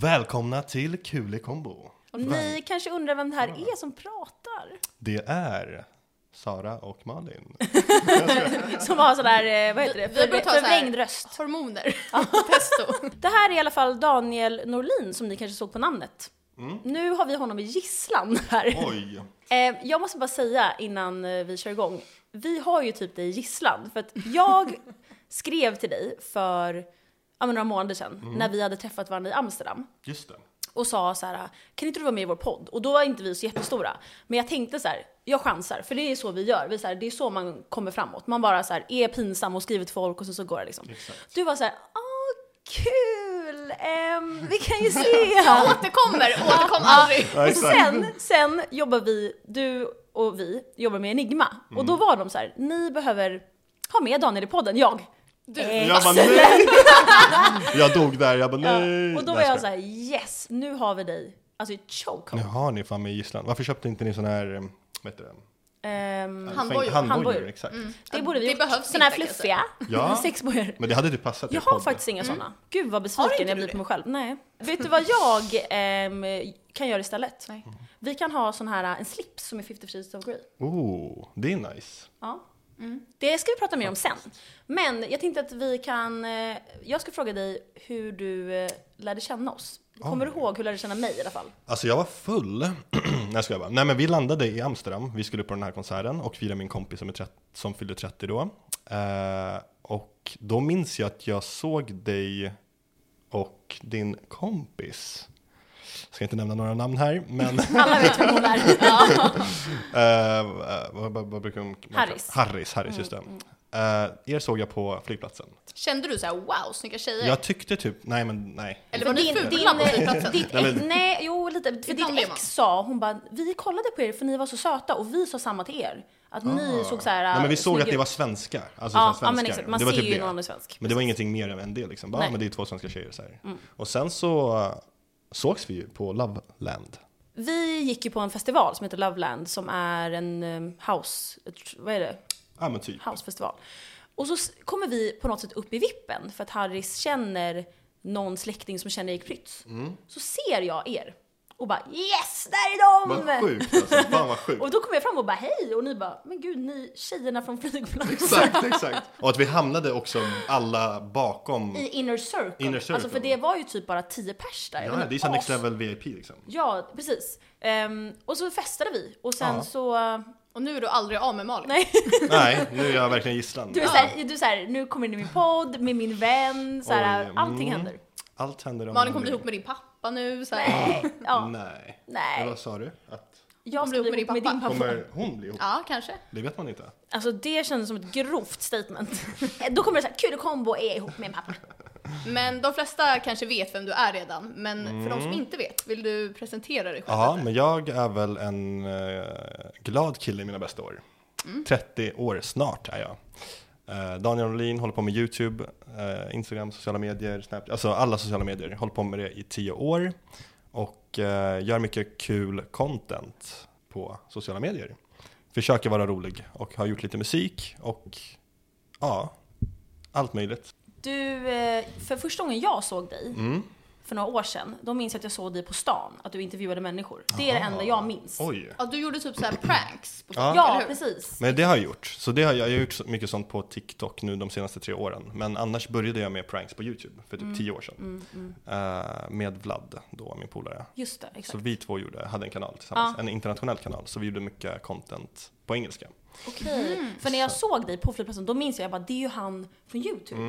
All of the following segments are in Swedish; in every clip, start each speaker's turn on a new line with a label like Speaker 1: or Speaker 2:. Speaker 1: Välkomna till Kul i kombo.
Speaker 2: Och ni kanske undrar vem det här är som pratar?
Speaker 1: Det är Sara och Malin.
Speaker 2: Som har sådär, eh, vad heter det,
Speaker 3: Vi- vi borde
Speaker 2: Förvr-
Speaker 3: ta så här-
Speaker 2: förvrängd röst.
Speaker 3: Hormoner. Testo.
Speaker 2: Det här är i alla fall Daniel Norlin som ni kanske såg på namnet. Nu har vi honom i gisslan här.
Speaker 1: Oj!
Speaker 2: Eh, jag måste bara säga innan eh, vi kör igång. Vi har ju typ dig i gisslan för att jag skrev till dig för ja, men några månader sedan när vi hade träffat varandra i Amsterdam
Speaker 1: Just det.
Speaker 2: och sa så här, kan inte du vara med i vår podd? Och då var inte vi så jättestora. Men jag tänkte så här, jag chansar, för det är så vi gör. Vi så här, det är så man kommer framåt. Man bara så här, är pinsam och skriver till folk och så, så går det liksom. Du var så här, åh kul, Ehm, vi kan ju se.
Speaker 3: Återkommer, återkom aldrig.
Speaker 1: Ja,
Speaker 2: Och sen, sen jobbar vi, du och vi jobbar med Enigma. Och då var de så här, ni behöver ha med Daniel i podden, jag. Du.
Speaker 1: Jag bara nej! Jag dog där, jag bara nej!
Speaker 2: och då var jag så här, yes, nu har vi dig. Alltså i
Speaker 1: Nu
Speaker 2: chokehold.
Speaker 1: har ni fan med gisslan. Varför köpte inte ni sån här, eh, vad heter det?
Speaker 2: Ehm,
Speaker 3: Handbojor.
Speaker 1: Handbojor,
Speaker 2: Handbojor. Mm.
Speaker 1: exakt.
Speaker 2: Det borde vi
Speaker 3: Det
Speaker 2: gjort.
Speaker 3: behövs
Speaker 2: Såna här
Speaker 3: inte, kanske.
Speaker 2: fluffiga
Speaker 1: Ja.
Speaker 2: sexbojor.
Speaker 1: Men det hade typ passat i
Speaker 2: Jag har
Speaker 1: podden.
Speaker 2: faktiskt inga såna. Mm. Gud vad besviken
Speaker 3: inte
Speaker 2: jag
Speaker 3: du
Speaker 2: blir på
Speaker 3: det?
Speaker 2: mig själv. Nej. Vet du vad jag ehm, kan göra istället?
Speaker 3: Nej.
Speaker 2: Vi kan ha sån här, eh, en slips som är 50 shades of grey.
Speaker 1: Oh, det är nice.
Speaker 2: Ja. Det ska vi prata mer om sen. Men jag tänkte att vi kan, eh, jag ska fråga dig hur du eh, lärde känna oss. Kommer du ihåg hur du lärde känna mig i alla fall?
Speaker 1: Alltså jag var full. Nej jag skojar bara. Nej men vi landade i Amsterdam. Vi skulle på den här konserten och fira min kompis som, är 30, som fyllde 30 då. Eh, och då minns jag att jag såg dig och din kompis. Jag ska inte nämna några namn här, men
Speaker 2: Alla vet vem hon är. Ja.
Speaker 1: eh, vad, vad, vad brukar man
Speaker 2: Harris. Mm,
Speaker 1: Harris, Harris, just det. Eh, er såg jag på flygplatsen.
Speaker 2: Typ.
Speaker 3: Kände du så här, wow, snygga tjejer?
Speaker 1: Jag tyckte typ, nej men nej.
Speaker 3: Eller var ni
Speaker 2: Din-
Speaker 3: fula på
Speaker 2: din- eh,
Speaker 3: flygplatsen?
Speaker 2: Ditt
Speaker 1: Nej,
Speaker 2: ex,
Speaker 1: men-
Speaker 2: nej, jo lite. För ditt
Speaker 3: Ibland blir man.
Speaker 2: ex sa, hon bara, vi kollade på er för ni var så söta och vi sa samma till er. Att ni såg så här.
Speaker 1: Ah. Nej men vi såg
Speaker 2: snygga
Speaker 1: att ni
Speaker 2: ut.
Speaker 1: var svenskar. Alltså
Speaker 2: Ja,
Speaker 1: så här
Speaker 2: ja men
Speaker 1: svenskar.
Speaker 2: exakt. Man
Speaker 1: Det var
Speaker 2: ser
Speaker 1: typ
Speaker 2: ju
Speaker 1: det.
Speaker 2: när någon är svensk.
Speaker 1: Men det var ingenting mer än det liksom. Bara,
Speaker 2: Nej.
Speaker 1: ja,
Speaker 2: Mm.
Speaker 1: men det är två svenska tjejer så här. Och sen så eh, sågs vi ju på Loveland.
Speaker 2: Vi gick ju på en festival som heter Loveland som är en um, house, vad är det?
Speaker 1: Ja men typ.
Speaker 2: housefestival. Och så s- kommer vi på något sätt upp i vippen för att Harris känner någon släkting som känner Erik Prytz.
Speaker 1: Mm.
Speaker 2: Så ser jag er och bara yes, där är de!
Speaker 1: Vad sjukt alltså. Fan vad sjukt.
Speaker 2: Och då kommer jag fram och bara hej och ni bara men gud ni tjejerna från flygplatsen.
Speaker 1: Exakt, exakt. Och att vi hamnade också alla bakom.
Speaker 2: I inner circle.
Speaker 1: Inner circle.
Speaker 2: Alltså för det var ju typ bara 10 pers där. Jag
Speaker 1: Ja,
Speaker 2: menar,
Speaker 1: det är så här next
Speaker 2: as-
Speaker 1: level VIP liksom.
Speaker 2: Ja, precis. Ehm, och så festade vi och sen
Speaker 1: Ja.
Speaker 2: så...
Speaker 3: Och nu är du aldrig av med Malin.
Speaker 2: Nej,
Speaker 1: Nej, nu är jag verkligen gisslan.
Speaker 2: du är såhär, du är såhär, nu kommer ni i min podd med min vän, såhär,
Speaker 1: Oj,
Speaker 2: allting
Speaker 1: mm.
Speaker 2: händer.
Speaker 1: Allt händer om
Speaker 3: Malin
Speaker 1: man
Speaker 3: kommer bli
Speaker 1: vill.
Speaker 3: ihop med din pappa nu. Så här.
Speaker 2: Ja,
Speaker 1: Nej. Eller
Speaker 2: nej.
Speaker 1: vad sa du? Att
Speaker 2: Jag ska
Speaker 3: blir
Speaker 2: bli ihop med din pappa.
Speaker 1: kommer hon bli ihop?
Speaker 3: Ja, kanske.
Speaker 1: Det vet man inte.
Speaker 2: Alltså det kändes som ett grovt statement. Då kommer det såhär, kul kombo är ihop med pappa.
Speaker 3: Men de flesta kanske vet vem du är redan. Men för de som inte vet, vill du presentera dig själv?
Speaker 1: Ja, Mm. men jag är väl en eh, glad kille i mina bästa år. 30 år snart är jag. Eh, Daniel Norlin håller på med YouTube, eh, Instagram, sociala medier, Snapchat, alltså alla sociala medier. Håller på med det i 10 år och eh, gör mycket kul content på sociala medier. Försöker vara rolig och har gjort lite musik och ja, allt möjligt. Mm.
Speaker 2: Du, eh, för första gången jag såg dig för några år sedan, då minns jag att jag såg dig på stan, att du intervjuade människor. Det är det enda jag minns.
Speaker 1: Oj!
Speaker 3: Ja, du gjorde typ så här pranks på
Speaker 1: Ja.
Speaker 2: Ja,
Speaker 3: eller hur?
Speaker 2: precis.
Speaker 1: Men det har jag gjort. Så det har jag, jag har gjort så- mycket sånt på TikTok nu de senaste tre åren. Men annars började jag med pranks på YouTube för typ
Speaker 2: Mm.
Speaker 1: tio år sedan. Eh, med Vlad då, min polare.
Speaker 2: Just det,
Speaker 1: Så
Speaker 2: Mm. exakt.
Speaker 1: vi två gjorde, hade en kanal tillsammans, en internationell kanal. Så vi gjorde mycket content på engelska.
Speaker 2: Okej.
Speaker 3: Mm.
Speaker 2: För när jag såg dig på flygplatsen, då minns jag, jag bara, det är ju han från YouTube.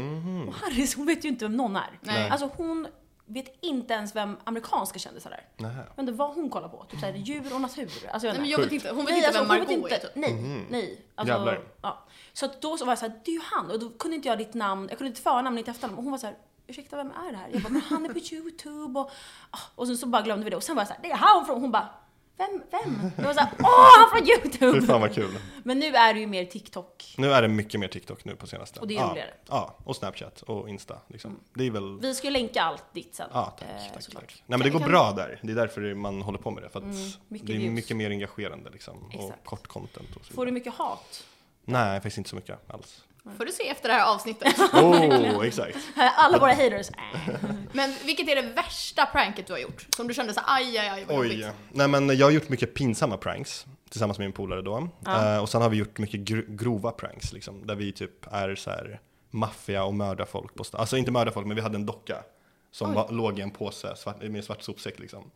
Speaker 2: Och Harris, hon vet ju inte vem någon är.
Speaker 3: Nej.
Speaker 2: Alltså hon vet inte ens vem amerikanska kändisar är.
Speaker 1: Nähä.
Speaker 2: Jag undrar vad hon kollar på, typ såhär djur och natur. Alltså, jag vet
Speaker 3: Nej, men
Speaker 2: inte.
Speaker 3: jag vet
Speaker 1: Sjukt.
Speaker 3: inte, hon vet
Speaker 2: Nej,
Speaker 3: inte
Speaker 2: alltså,
Speaker 3: vem
Speaker 2: hon vet
Speaker 3: Margot
Speaker 2: inte,
Speaker 3: är. Typ.
Speaker 2: Nej, nej. Alltså,
Speaker 1: Mhm. Jävlar.
Speaker 2: ja. Så att då så var jag såhär, det är ju han. Och då kunde inte jag ditt namn, jag kunde inte förnamn, inte efternamn. Och hon var såhär, ursäkta vem är det här? Jag bara, men han är på YouTube och... ah. Och sen så bara glömde vi det. Och sen var jag såhär, det är han från... Hon bara, vem, vem? Jag var såhär, åh han från
Speaker 1: Fy
Speaker 2: YouTube!
Speaker 1: fan vad kul.
Speaker 2: Men nu är det ju mer TikTok.
Speaker 1: Nu är det mycket mer TikTok nu på senaste.
Speaker 2: Och det är
Speaker 1: ja.
Speaker 2: roligare.
Speaker 1: Ja, och Snapchat och Insta. Liksom. Det är väl...
Speaker 2: Vi ska ju länka allt ditt sen.
Speaker 1: Ja, tack.
Speaker 2: eh,
Speaker 1: tack,
Speaker 2: såklart. Mm,
Speaker 1: tack. Nej, men det
Speaker 3: Kan-
Speaker 1: går
Speaker 3: kan-
Speaker 1: bra där. Det är därför man håller på med det. För att
Speaker 2: mycket
Speaker 1: det är
Speaker 2: views.
Speaker 1: mycket mer engagerande liksom, och
Speaker 2: Exakt.
Speaker 1: kort content. Och så
Speaker 2: Får
Speaker 1: vidare.
Speaker 2: du mycket hat?
Speaker 1: Nej, faktiskt inte så mycket alls.
Speaker 3: typ. får du se efter det här avsnittet.
Speaker 1: Oh, exakt.
Speaker 2: Alla våra haters. Äh.
Speaker 3: Men vilket är det värsta pranket du har gjort? Som du kände så här, aj, aj, aj, vad
Speaker 1: Oj.
Speaker 3: jobbigt.
Speaker 1: Nej men jag har gjort mycket pinsamma pranks tillsammans med min polare då. Eh, och sen har vi gjort mycket gr- grova pranks liksom. Där vi typ är så här maffia och mördar folk på stan. Alltså inte mördar folk men vi hade en docka. Som var, låg i en påse svart, med svart sopsäck liksom.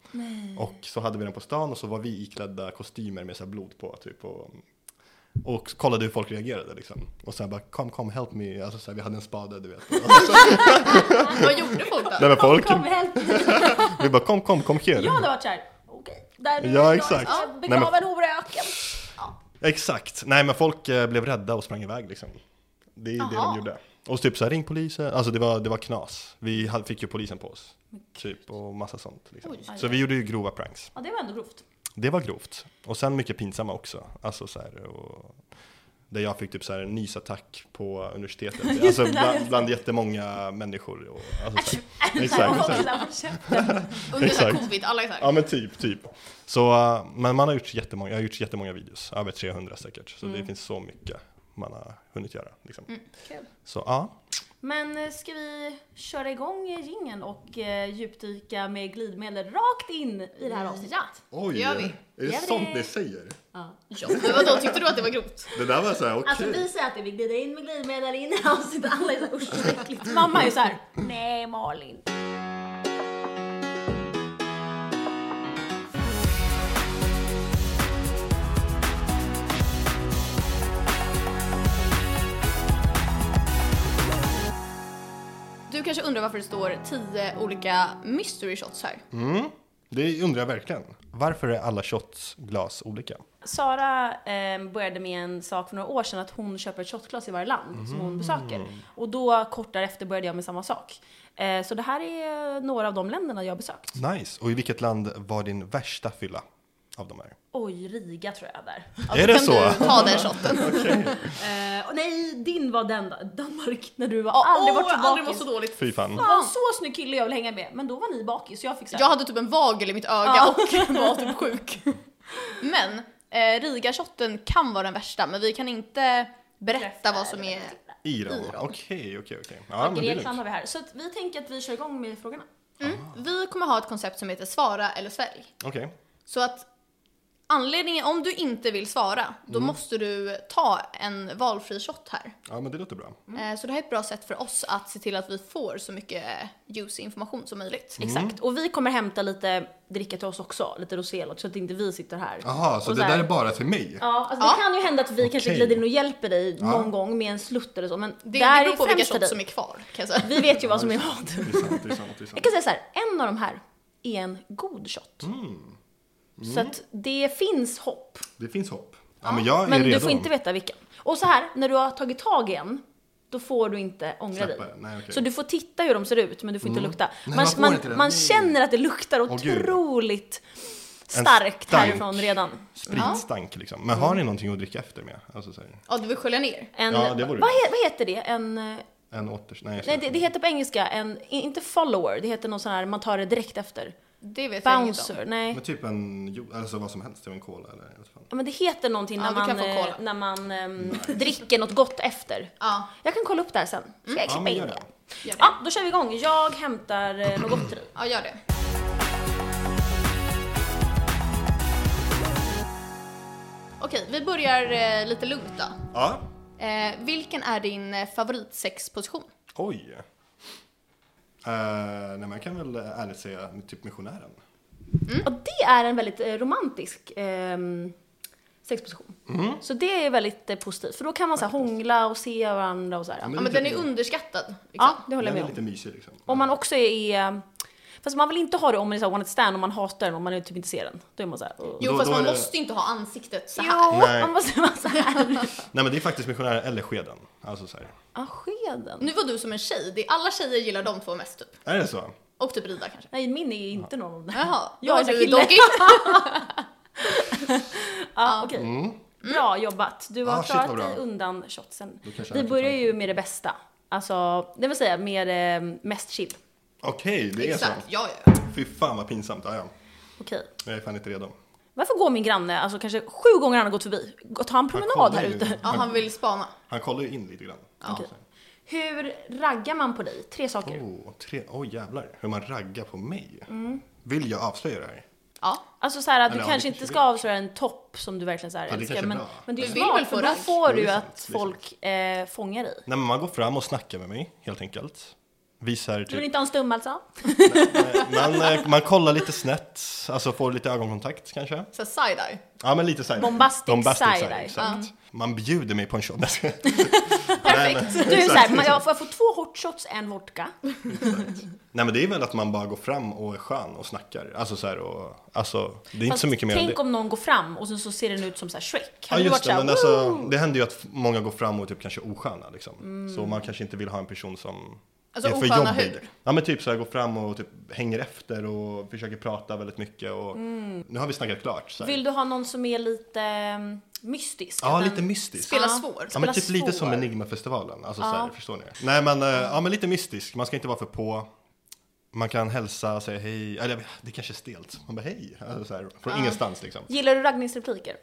Speaker 1: Och så hade vi den på stan och så var vi iklädda kostymer med så här blod på typ. Och, och kollade hur folk reagerade liksom. Och sen bara kom, kom, help me. Alltså så här, vi hade en spade du vet. Alltså,
Speaker 3: Vad gjorde folk då?
Speaker 1: nej, men
Speaker 2: Kom,
Speaker 1: folk,
Speaker 2: kom, hjälp mig.
Speaker 1: vi bara kom, kom, kom here.
Speaker 2: Jag hade varit såhär, okej. Där nu,
Speaker 1: Ja,
Speaker 2: jag
Speaker 1: exakt.
Speaker 2: ska
Speaker 1: Nej,
Speaker 2: Begrava
Speaker 1: men-
Speaker 2: en hora i öken.
Speaker 1: Exakt. Nej, men folk eh, blev rädda och sprang iväg liksom. Det är ju det
Speaker 3: Jaha.
Speaker 1: de gjorde. Och typ så här, ring polisen. Alltså det var, det var knas. Vi hade, fick ju polisen på oss. Typ och massa sånt. Liksom.
Speaker 3: Oj.
Speaker 1: Så vi gjorde ju grova pranks.
Speaker 2: Ja, det var ändå grovt.
Speaker 1: Det var grovt. Och sen mycket pinsamma också. Alltså så här, och där jag fick typ så här en nysattack på universitetet. Alltså
Speaker 2: det där, just
Speaker 1: bland,
Speaker 2: det.
Speaker 1: bland jättemånga människor. Och, alltså, så här.
Speaker 2: Exakt,
Speaker 1: Exakt. exakt.
Speaker 3: Under så här
Speaker 1: Exakt.
Speaker 3: covid, alla är så här.
Speaker 1: Ja men typ, typ. Så, eh, men man har gjort jättemånga, jag har gjort jättemånga videos, över 300 säkert. Så det finns så mycket man har hunnit göra. Liksom.
Speaker 2: Kul.
Speaker 1: Så ja,
Speaker 2: Men eh, ska vi köra igång ringen och eh, djupdyka med glidmedel rakt in i det här avsnittet?
Speaker 1: Oj!
Speaker 3: Det gör vi.
Speaker 1: Är det
Speaker 2: Gör vi
Speaker 1: sånt
Speaker 2: det?
Speaker 1: ni säger?
Speaker 3: Ja, men vadå, tyckte du att det var grovt?
Speaker 1: Det där var såhär, okej.
Speaker 2: Alltså vi säger att vi glider in med glidmedel in i avsnittet, alla är såhär usch vad äckligt. Mamma är ju såhär, nej Malin.
Speaker 3: Du kanske undrar varför det står 10 olika mystery shots här?
Speaker 1: Det undrar jag verkligen. Varför är alla shotsglas olika?
Speaker 2: Sara eh, började med en sak för några år sedan att hon köper ett shotglas i varje land som hon besöker. Och då kort därefter började jag med samma sak. Eh, så det här är några av de länderna jag har besökt.
Speaker 1: Nice! Och i vilket land var din värsta fylla av de här?
Speaker 2: Oj, Riga tror jag där.
Speaker 3: Ja,
Speaker 1: Är det
Speaker 3: då kan
Speaker 1: så?
Speaker 3: Du ta den shotten.
Speaker 2: Eh, och nej, din var den då. Danmark när du var
Speaker 3: Ja,
Speaker 2: aldrig
Speaker 3: åh,
Speaker 2: varit så
Speaker 3: jag har aldrig var
Speaker 2: bakis.
Speaker 3: så dåligt.
Speaker 1: Fy fan.
Speaker 2: Fan, så snygg kille jag vill hänga med. Men då var ni bakis så jag fick såhär.
Speaker 3: Jag hade typ en vagel i mitt öga och var typ sjuk. Men eh, Riga-shotten kan vara den värsta, men vi kan inte berätta vad som är...
Speaker 1: Iran.
Speaker 3: Iran.
Speaker 1: Okej, okej, okej. Ja, men det är
Speaker 2: Grekland
Speaker 1: lugnt.
Speaker 2: har vi här. Så att vi tänker att vi kör igång med frågorna.
Speaker 3: Mm. Vi kommer ha ett koncept som heter svara eller svälj.
Speaker 1: Okej.
Speaker 3: Så att anledningen, om du inte vill svara, då
Speaker 1: Mm.
Speaker 3: måste du ta en valfri shot här.
Speaker 1: Ja, men det låter bra.
Speaker 2: Mm.
Speaker 3: Eh, Så det här är ett bra sätt för oss att se till att vi får så mycket eh, juicy information som möjligt.
Speaker 1: Mm.
Speaker 2: Exakt. Och vi kommer hämta lite dricka till oss också. Lite rosélock så att inte vi sitter här.
Speaker 1: Jaha, så
Speaker 2: Och
Speaker 1: det
Speaker 2: här-
Speaker 1: där är bara till mig?
Speaker 2: Ja, alltså det kan ju hända att vi kanske glider in och hjälper dig någon gång med en slutt eller så. Men
Speaker 3: Det,
Speaker 2: där
Speaker 3: det beror på
Speaker 2: är
Speaker 3: vilka
Speaker 2: främst för
Speaker 3: shots
Speaker 2: dig.
Speaker 3: som är kvar kan jag säga.
Speaker 2: Vi vet ju vad som är vad.
Speaker 1: Det är sant, det är sant, det är sant.
Speaker 2: Jag kan säga så här, en av de här är en god shot.
Speaker 1: Mm.
Speaker 2: Så att det finns hopp.
Speaker 1: Det finns hopp. Ja, men jag är
Speaker 2: Men
Speaker 1: redo.
Speaker 2: du får inte veta vilken. Och så här, när du har tagit tag i en, då får du inte ångra
Speaker 1: Släppa
Speaker 2: dig.
Speaker 1: den, nej, okej. Mm.
Speaker 2: Så du får titta hur de ser ut, men du får inte lukta.
Speaker 1: Nej,
Speaker 2: man
Speaker 1: man får
Speaker 2: man,
Speaker 1: inte det,
Speaker 2: man
Speaker 1: nej.
Speaker 2: känner att det luktar
Speaker 1: gud.
Speaker 2: otroligt
Speaker 1: En
Speaker 2: starkt
Speaker 1: stank.
Speaker 2: härifrån redan.
Speaker 1: Spritstank liksom. Men
Speaker 2: Mm.
Speaker 1: har ni någonting att dricka efter med? Alltså så här,
Speaker 3: Ja, du vill skölja ner.
Speaker 2: En,
Speaker 1: Ja, det
Speaker 2: vad,
Speaker 1: vore
Speaker 2: he, vad heter det? En, eh,
Speaker 1: en åter... Nej, jag
Speaker 2: nej,
Speaker 1: skojar.
Speaker 2: det, det heter på engelska, en, i- inte follower, det heter någon sån här, man tar det direkt efter.
Speaker 3: Det vet jag inget om.
Speaker 2: Bouncer, nej.
Speaker 1: Men typ en, ju- alltså vad som helst, typ en cola eller vad fan.
Speaker 2: Ja, men det heter någonting
Speaker 3: Ja,
Speaker 2: när,
Speaker 3: du
Speaker 2: man,
Speaker 3: kan få
Speaker 2: eh,
Speaker 3: kolla.
Speaker 2: när man ehm, dricker något gott efter.
Speaker 3: Ja.
Speaker 2: Jag kan kolla upp det här sen. Ska jag
Speaker 1: Ja,
Speaker 2: klippa
Speaker 1: men
Speaker 2: in
Speaker 1: gör
Speaker 2: det?
Speaker 1: det.
Speaker 3: Gör det.
Speaker 2: Ja, då kör vi igång. Jag hämtar eh, något gott till dig.
Speaker 3: Ja, gör det. Okej, vi börjar eh, lite lugnt då.
Speaker 1: Ja.
Speaker 3: Eh, vilken är din eh, favoritsexposition?
Speaker 1: Oj. Uh, nej men jag kan väl ärligt säga typ missionären.
Speaker 2: Och det är en väldigt eh, romantisk ehm, sexposition. Så det är väldigt eh, positivt. För då kan man så här, hångla och se varandra och så här.
Speaker 3: Ja, men den är underskattad.
Speaker 2: Ja,
Speaker 3: Liksom.
Speaker 2: det håller jag
Speaker 1: den är
Speaker 2: med om.
Speaker 1: lite mysig liksom.
Speaker 2: Om man också är... ehm, Fast man vill inte ha det om man är så här one night stand och man hatar den och man typ inte ser den. Då är man såhär... Jo,
Speaker 3: Jo,
Speaker 1: Då-
Speaker 3: fast
Speaker 1: då
Speaker 3: man
Speaker 1: är det-
Speaker 3: måste inte ha ansiktet så här.
Speaker 2: jo
Speaker 1: Nej.
Speaker 2: man måste vara såhär...
Speaker 1: Nej men det är faktiskt missionären eller skeden. Alltså så här.
Speaker 2: Ja, skeden.
Speaker 3: Nu var du som en tjej. Det är, alla tjejer gillar de två mest typ.
Speaker 1: Är det så?
Speaker 3: Och typ rida kanske.
Speaker 2: Nej, min är inte någon av dem.
Speaker 3: Jaha, då
Speaker 2: Jag är
Speaker 3: är
Speaker 2: så
Speaker 3: du
Speaker 2: kille.
Speaker 3: doggy.
Speaker 2: Ja, okej. Bra jobbat. Du har
Speaker 1: Mm. Ah, shit, vad
Speaker 2: klarat
Speaker 1: bra.
Speaker 2: dig undan shotsen.
Speaker 1: Då kanske
Speaker 2: Vi
Speaker 1: jag kan
Speaker 2: börjar
Speaker 1: ta
Speaker 2: ju med det bästa. Alltså, det vill säga med eh, mest chill.
Speaker 1: Okej, det är
Speaker 3: Exakt,
Speaker 1: så.
Speaker 3: ja, ja.
Speaker 1: Fy fan vad pinsamt. Ja, ja.
Speaker 2: Okej.
Speaker 1: Jag är fan inte redo.
Speaker 2: Varför går min granne, alltså kanske sju gånger han har gått förbi, och tar en promenad
Speaker 1: kollar
Speaker 2: här
Speaker 1: ju.
Speaker 2: ute?
Speaker 3: ja. Han vill spana.
Speaker 1: Han kollar ju in lite grann. Alltså.
Speaker 3: Ja.
Speaker 2: Okej. Hur raggar man på dig? Tre saker.
Speaker 1: Oh, tre, oh, jävlar, hur man raggar på mig.
Speaker 2: Mm.
Speaker 1: Vill jag avslöja det här?
Speaker 3: Ja.
Speaker 2: Alltså så här att du
Speaker 1: Eller ja,
Speaker 2: kanske
Speaker 1: det kanske
Speaker 2: inte ska avslöja en topp som du verkligen så här
Speaker 1: Ja, det
Speaker 2: älskar.
Speaker 1: kanske är
Speaker 2: Men,
Speaker 1: bra.
Speaker 2: men det är ju
Speaker 3: Du vill väl
Speaker 2: smart för
Speaker 3: få
Speaker 2: då
Speaker 3: ragg?
Speaker 1: Ja,
Speaker 2: får
Speaker 1: det
Speaker 2: du
Speaker 1: är sant,
Speaker 2: att
Speaker 1: det är sant. Typ.
Speaker 2: folk eh, fångar dig.
Speaker 1: Nej, men man går fram och snackar med mig, helt enkelt. Visar
Speaker 2: Du vill
Speaker 1: typ,
Speaker 2: inte ha en stum alltså?
Speaker 1: man, eh, man kollar lite snett, alltså får lite ögonkontakt kanske.
Speaker 3: Så side-eye.
Speaker 1: Ja, men lite såhär.
Speaker 2: Bombastic side eye.
Speaker 1: exakt. Man bjuder mig på en shot.
Speaker 3: Perfekt.
Speaker 2: Du är såhär, "Man, jag får, jag får två hot shots, en vodka.
Speaker 1: Nej, men det är väl att man bara går fram och är skön och snackar. Alltså så här och, alltså, det är inte
Speaker 2: Fast
Speaker 1: så mycket mer än det.
Speaker 2: tänk om någon går fram och så, så ser den ut som så här Shrek.
Speaker 1: Ja
Speaker 2: Hade du varit
Speaker 1: just det,
Speaker 2: såhär,
Speaker 1: men
Speaker 2: men,
Speaker 1: alltså, det händer ju att många går fram och typ kanske är osköna liksom.
Speaker 2: Mm.
Speaker 1: Så man kanske inte vill ha en person som
Speaker 3: Alltså,
Speaker 1: är för
Speaker 3: osköna
Speaker 1: jobbig.
Speaker 3: hur?
Speaker 1: Ja men typ så här, går fram och typ hänger efter och försöker prata väldigt mycket och nu har vi snackat klart. Så här.
Speaker 2: Mm. vill du ha någon som är lite mm, mystisk?
Speaker 1: ja
Speaker 2: Den-
Speaker 1: lite mystisk.
Speaker 3: Spela
Speaker 2: Ja.
Speaker 3: svår.
Speaker 1: Ja men
Speaker 2: spela
Speaker 1: typ lite som
Speaker 2: svår.
Speaker 1: Enigmafestivalen, alltså så här,
Speaker 2: Ja.
Speaker 1: förstår ni? Nej men, eh, ja men lite mystisk, man ska inte vara för på. Man kan hälsa, säga hej, eller det kanske är stelt. Man bara hej, alltså, så här, från ingenstans liksom.
Speaker 2: Gillar du raggningsrepliker?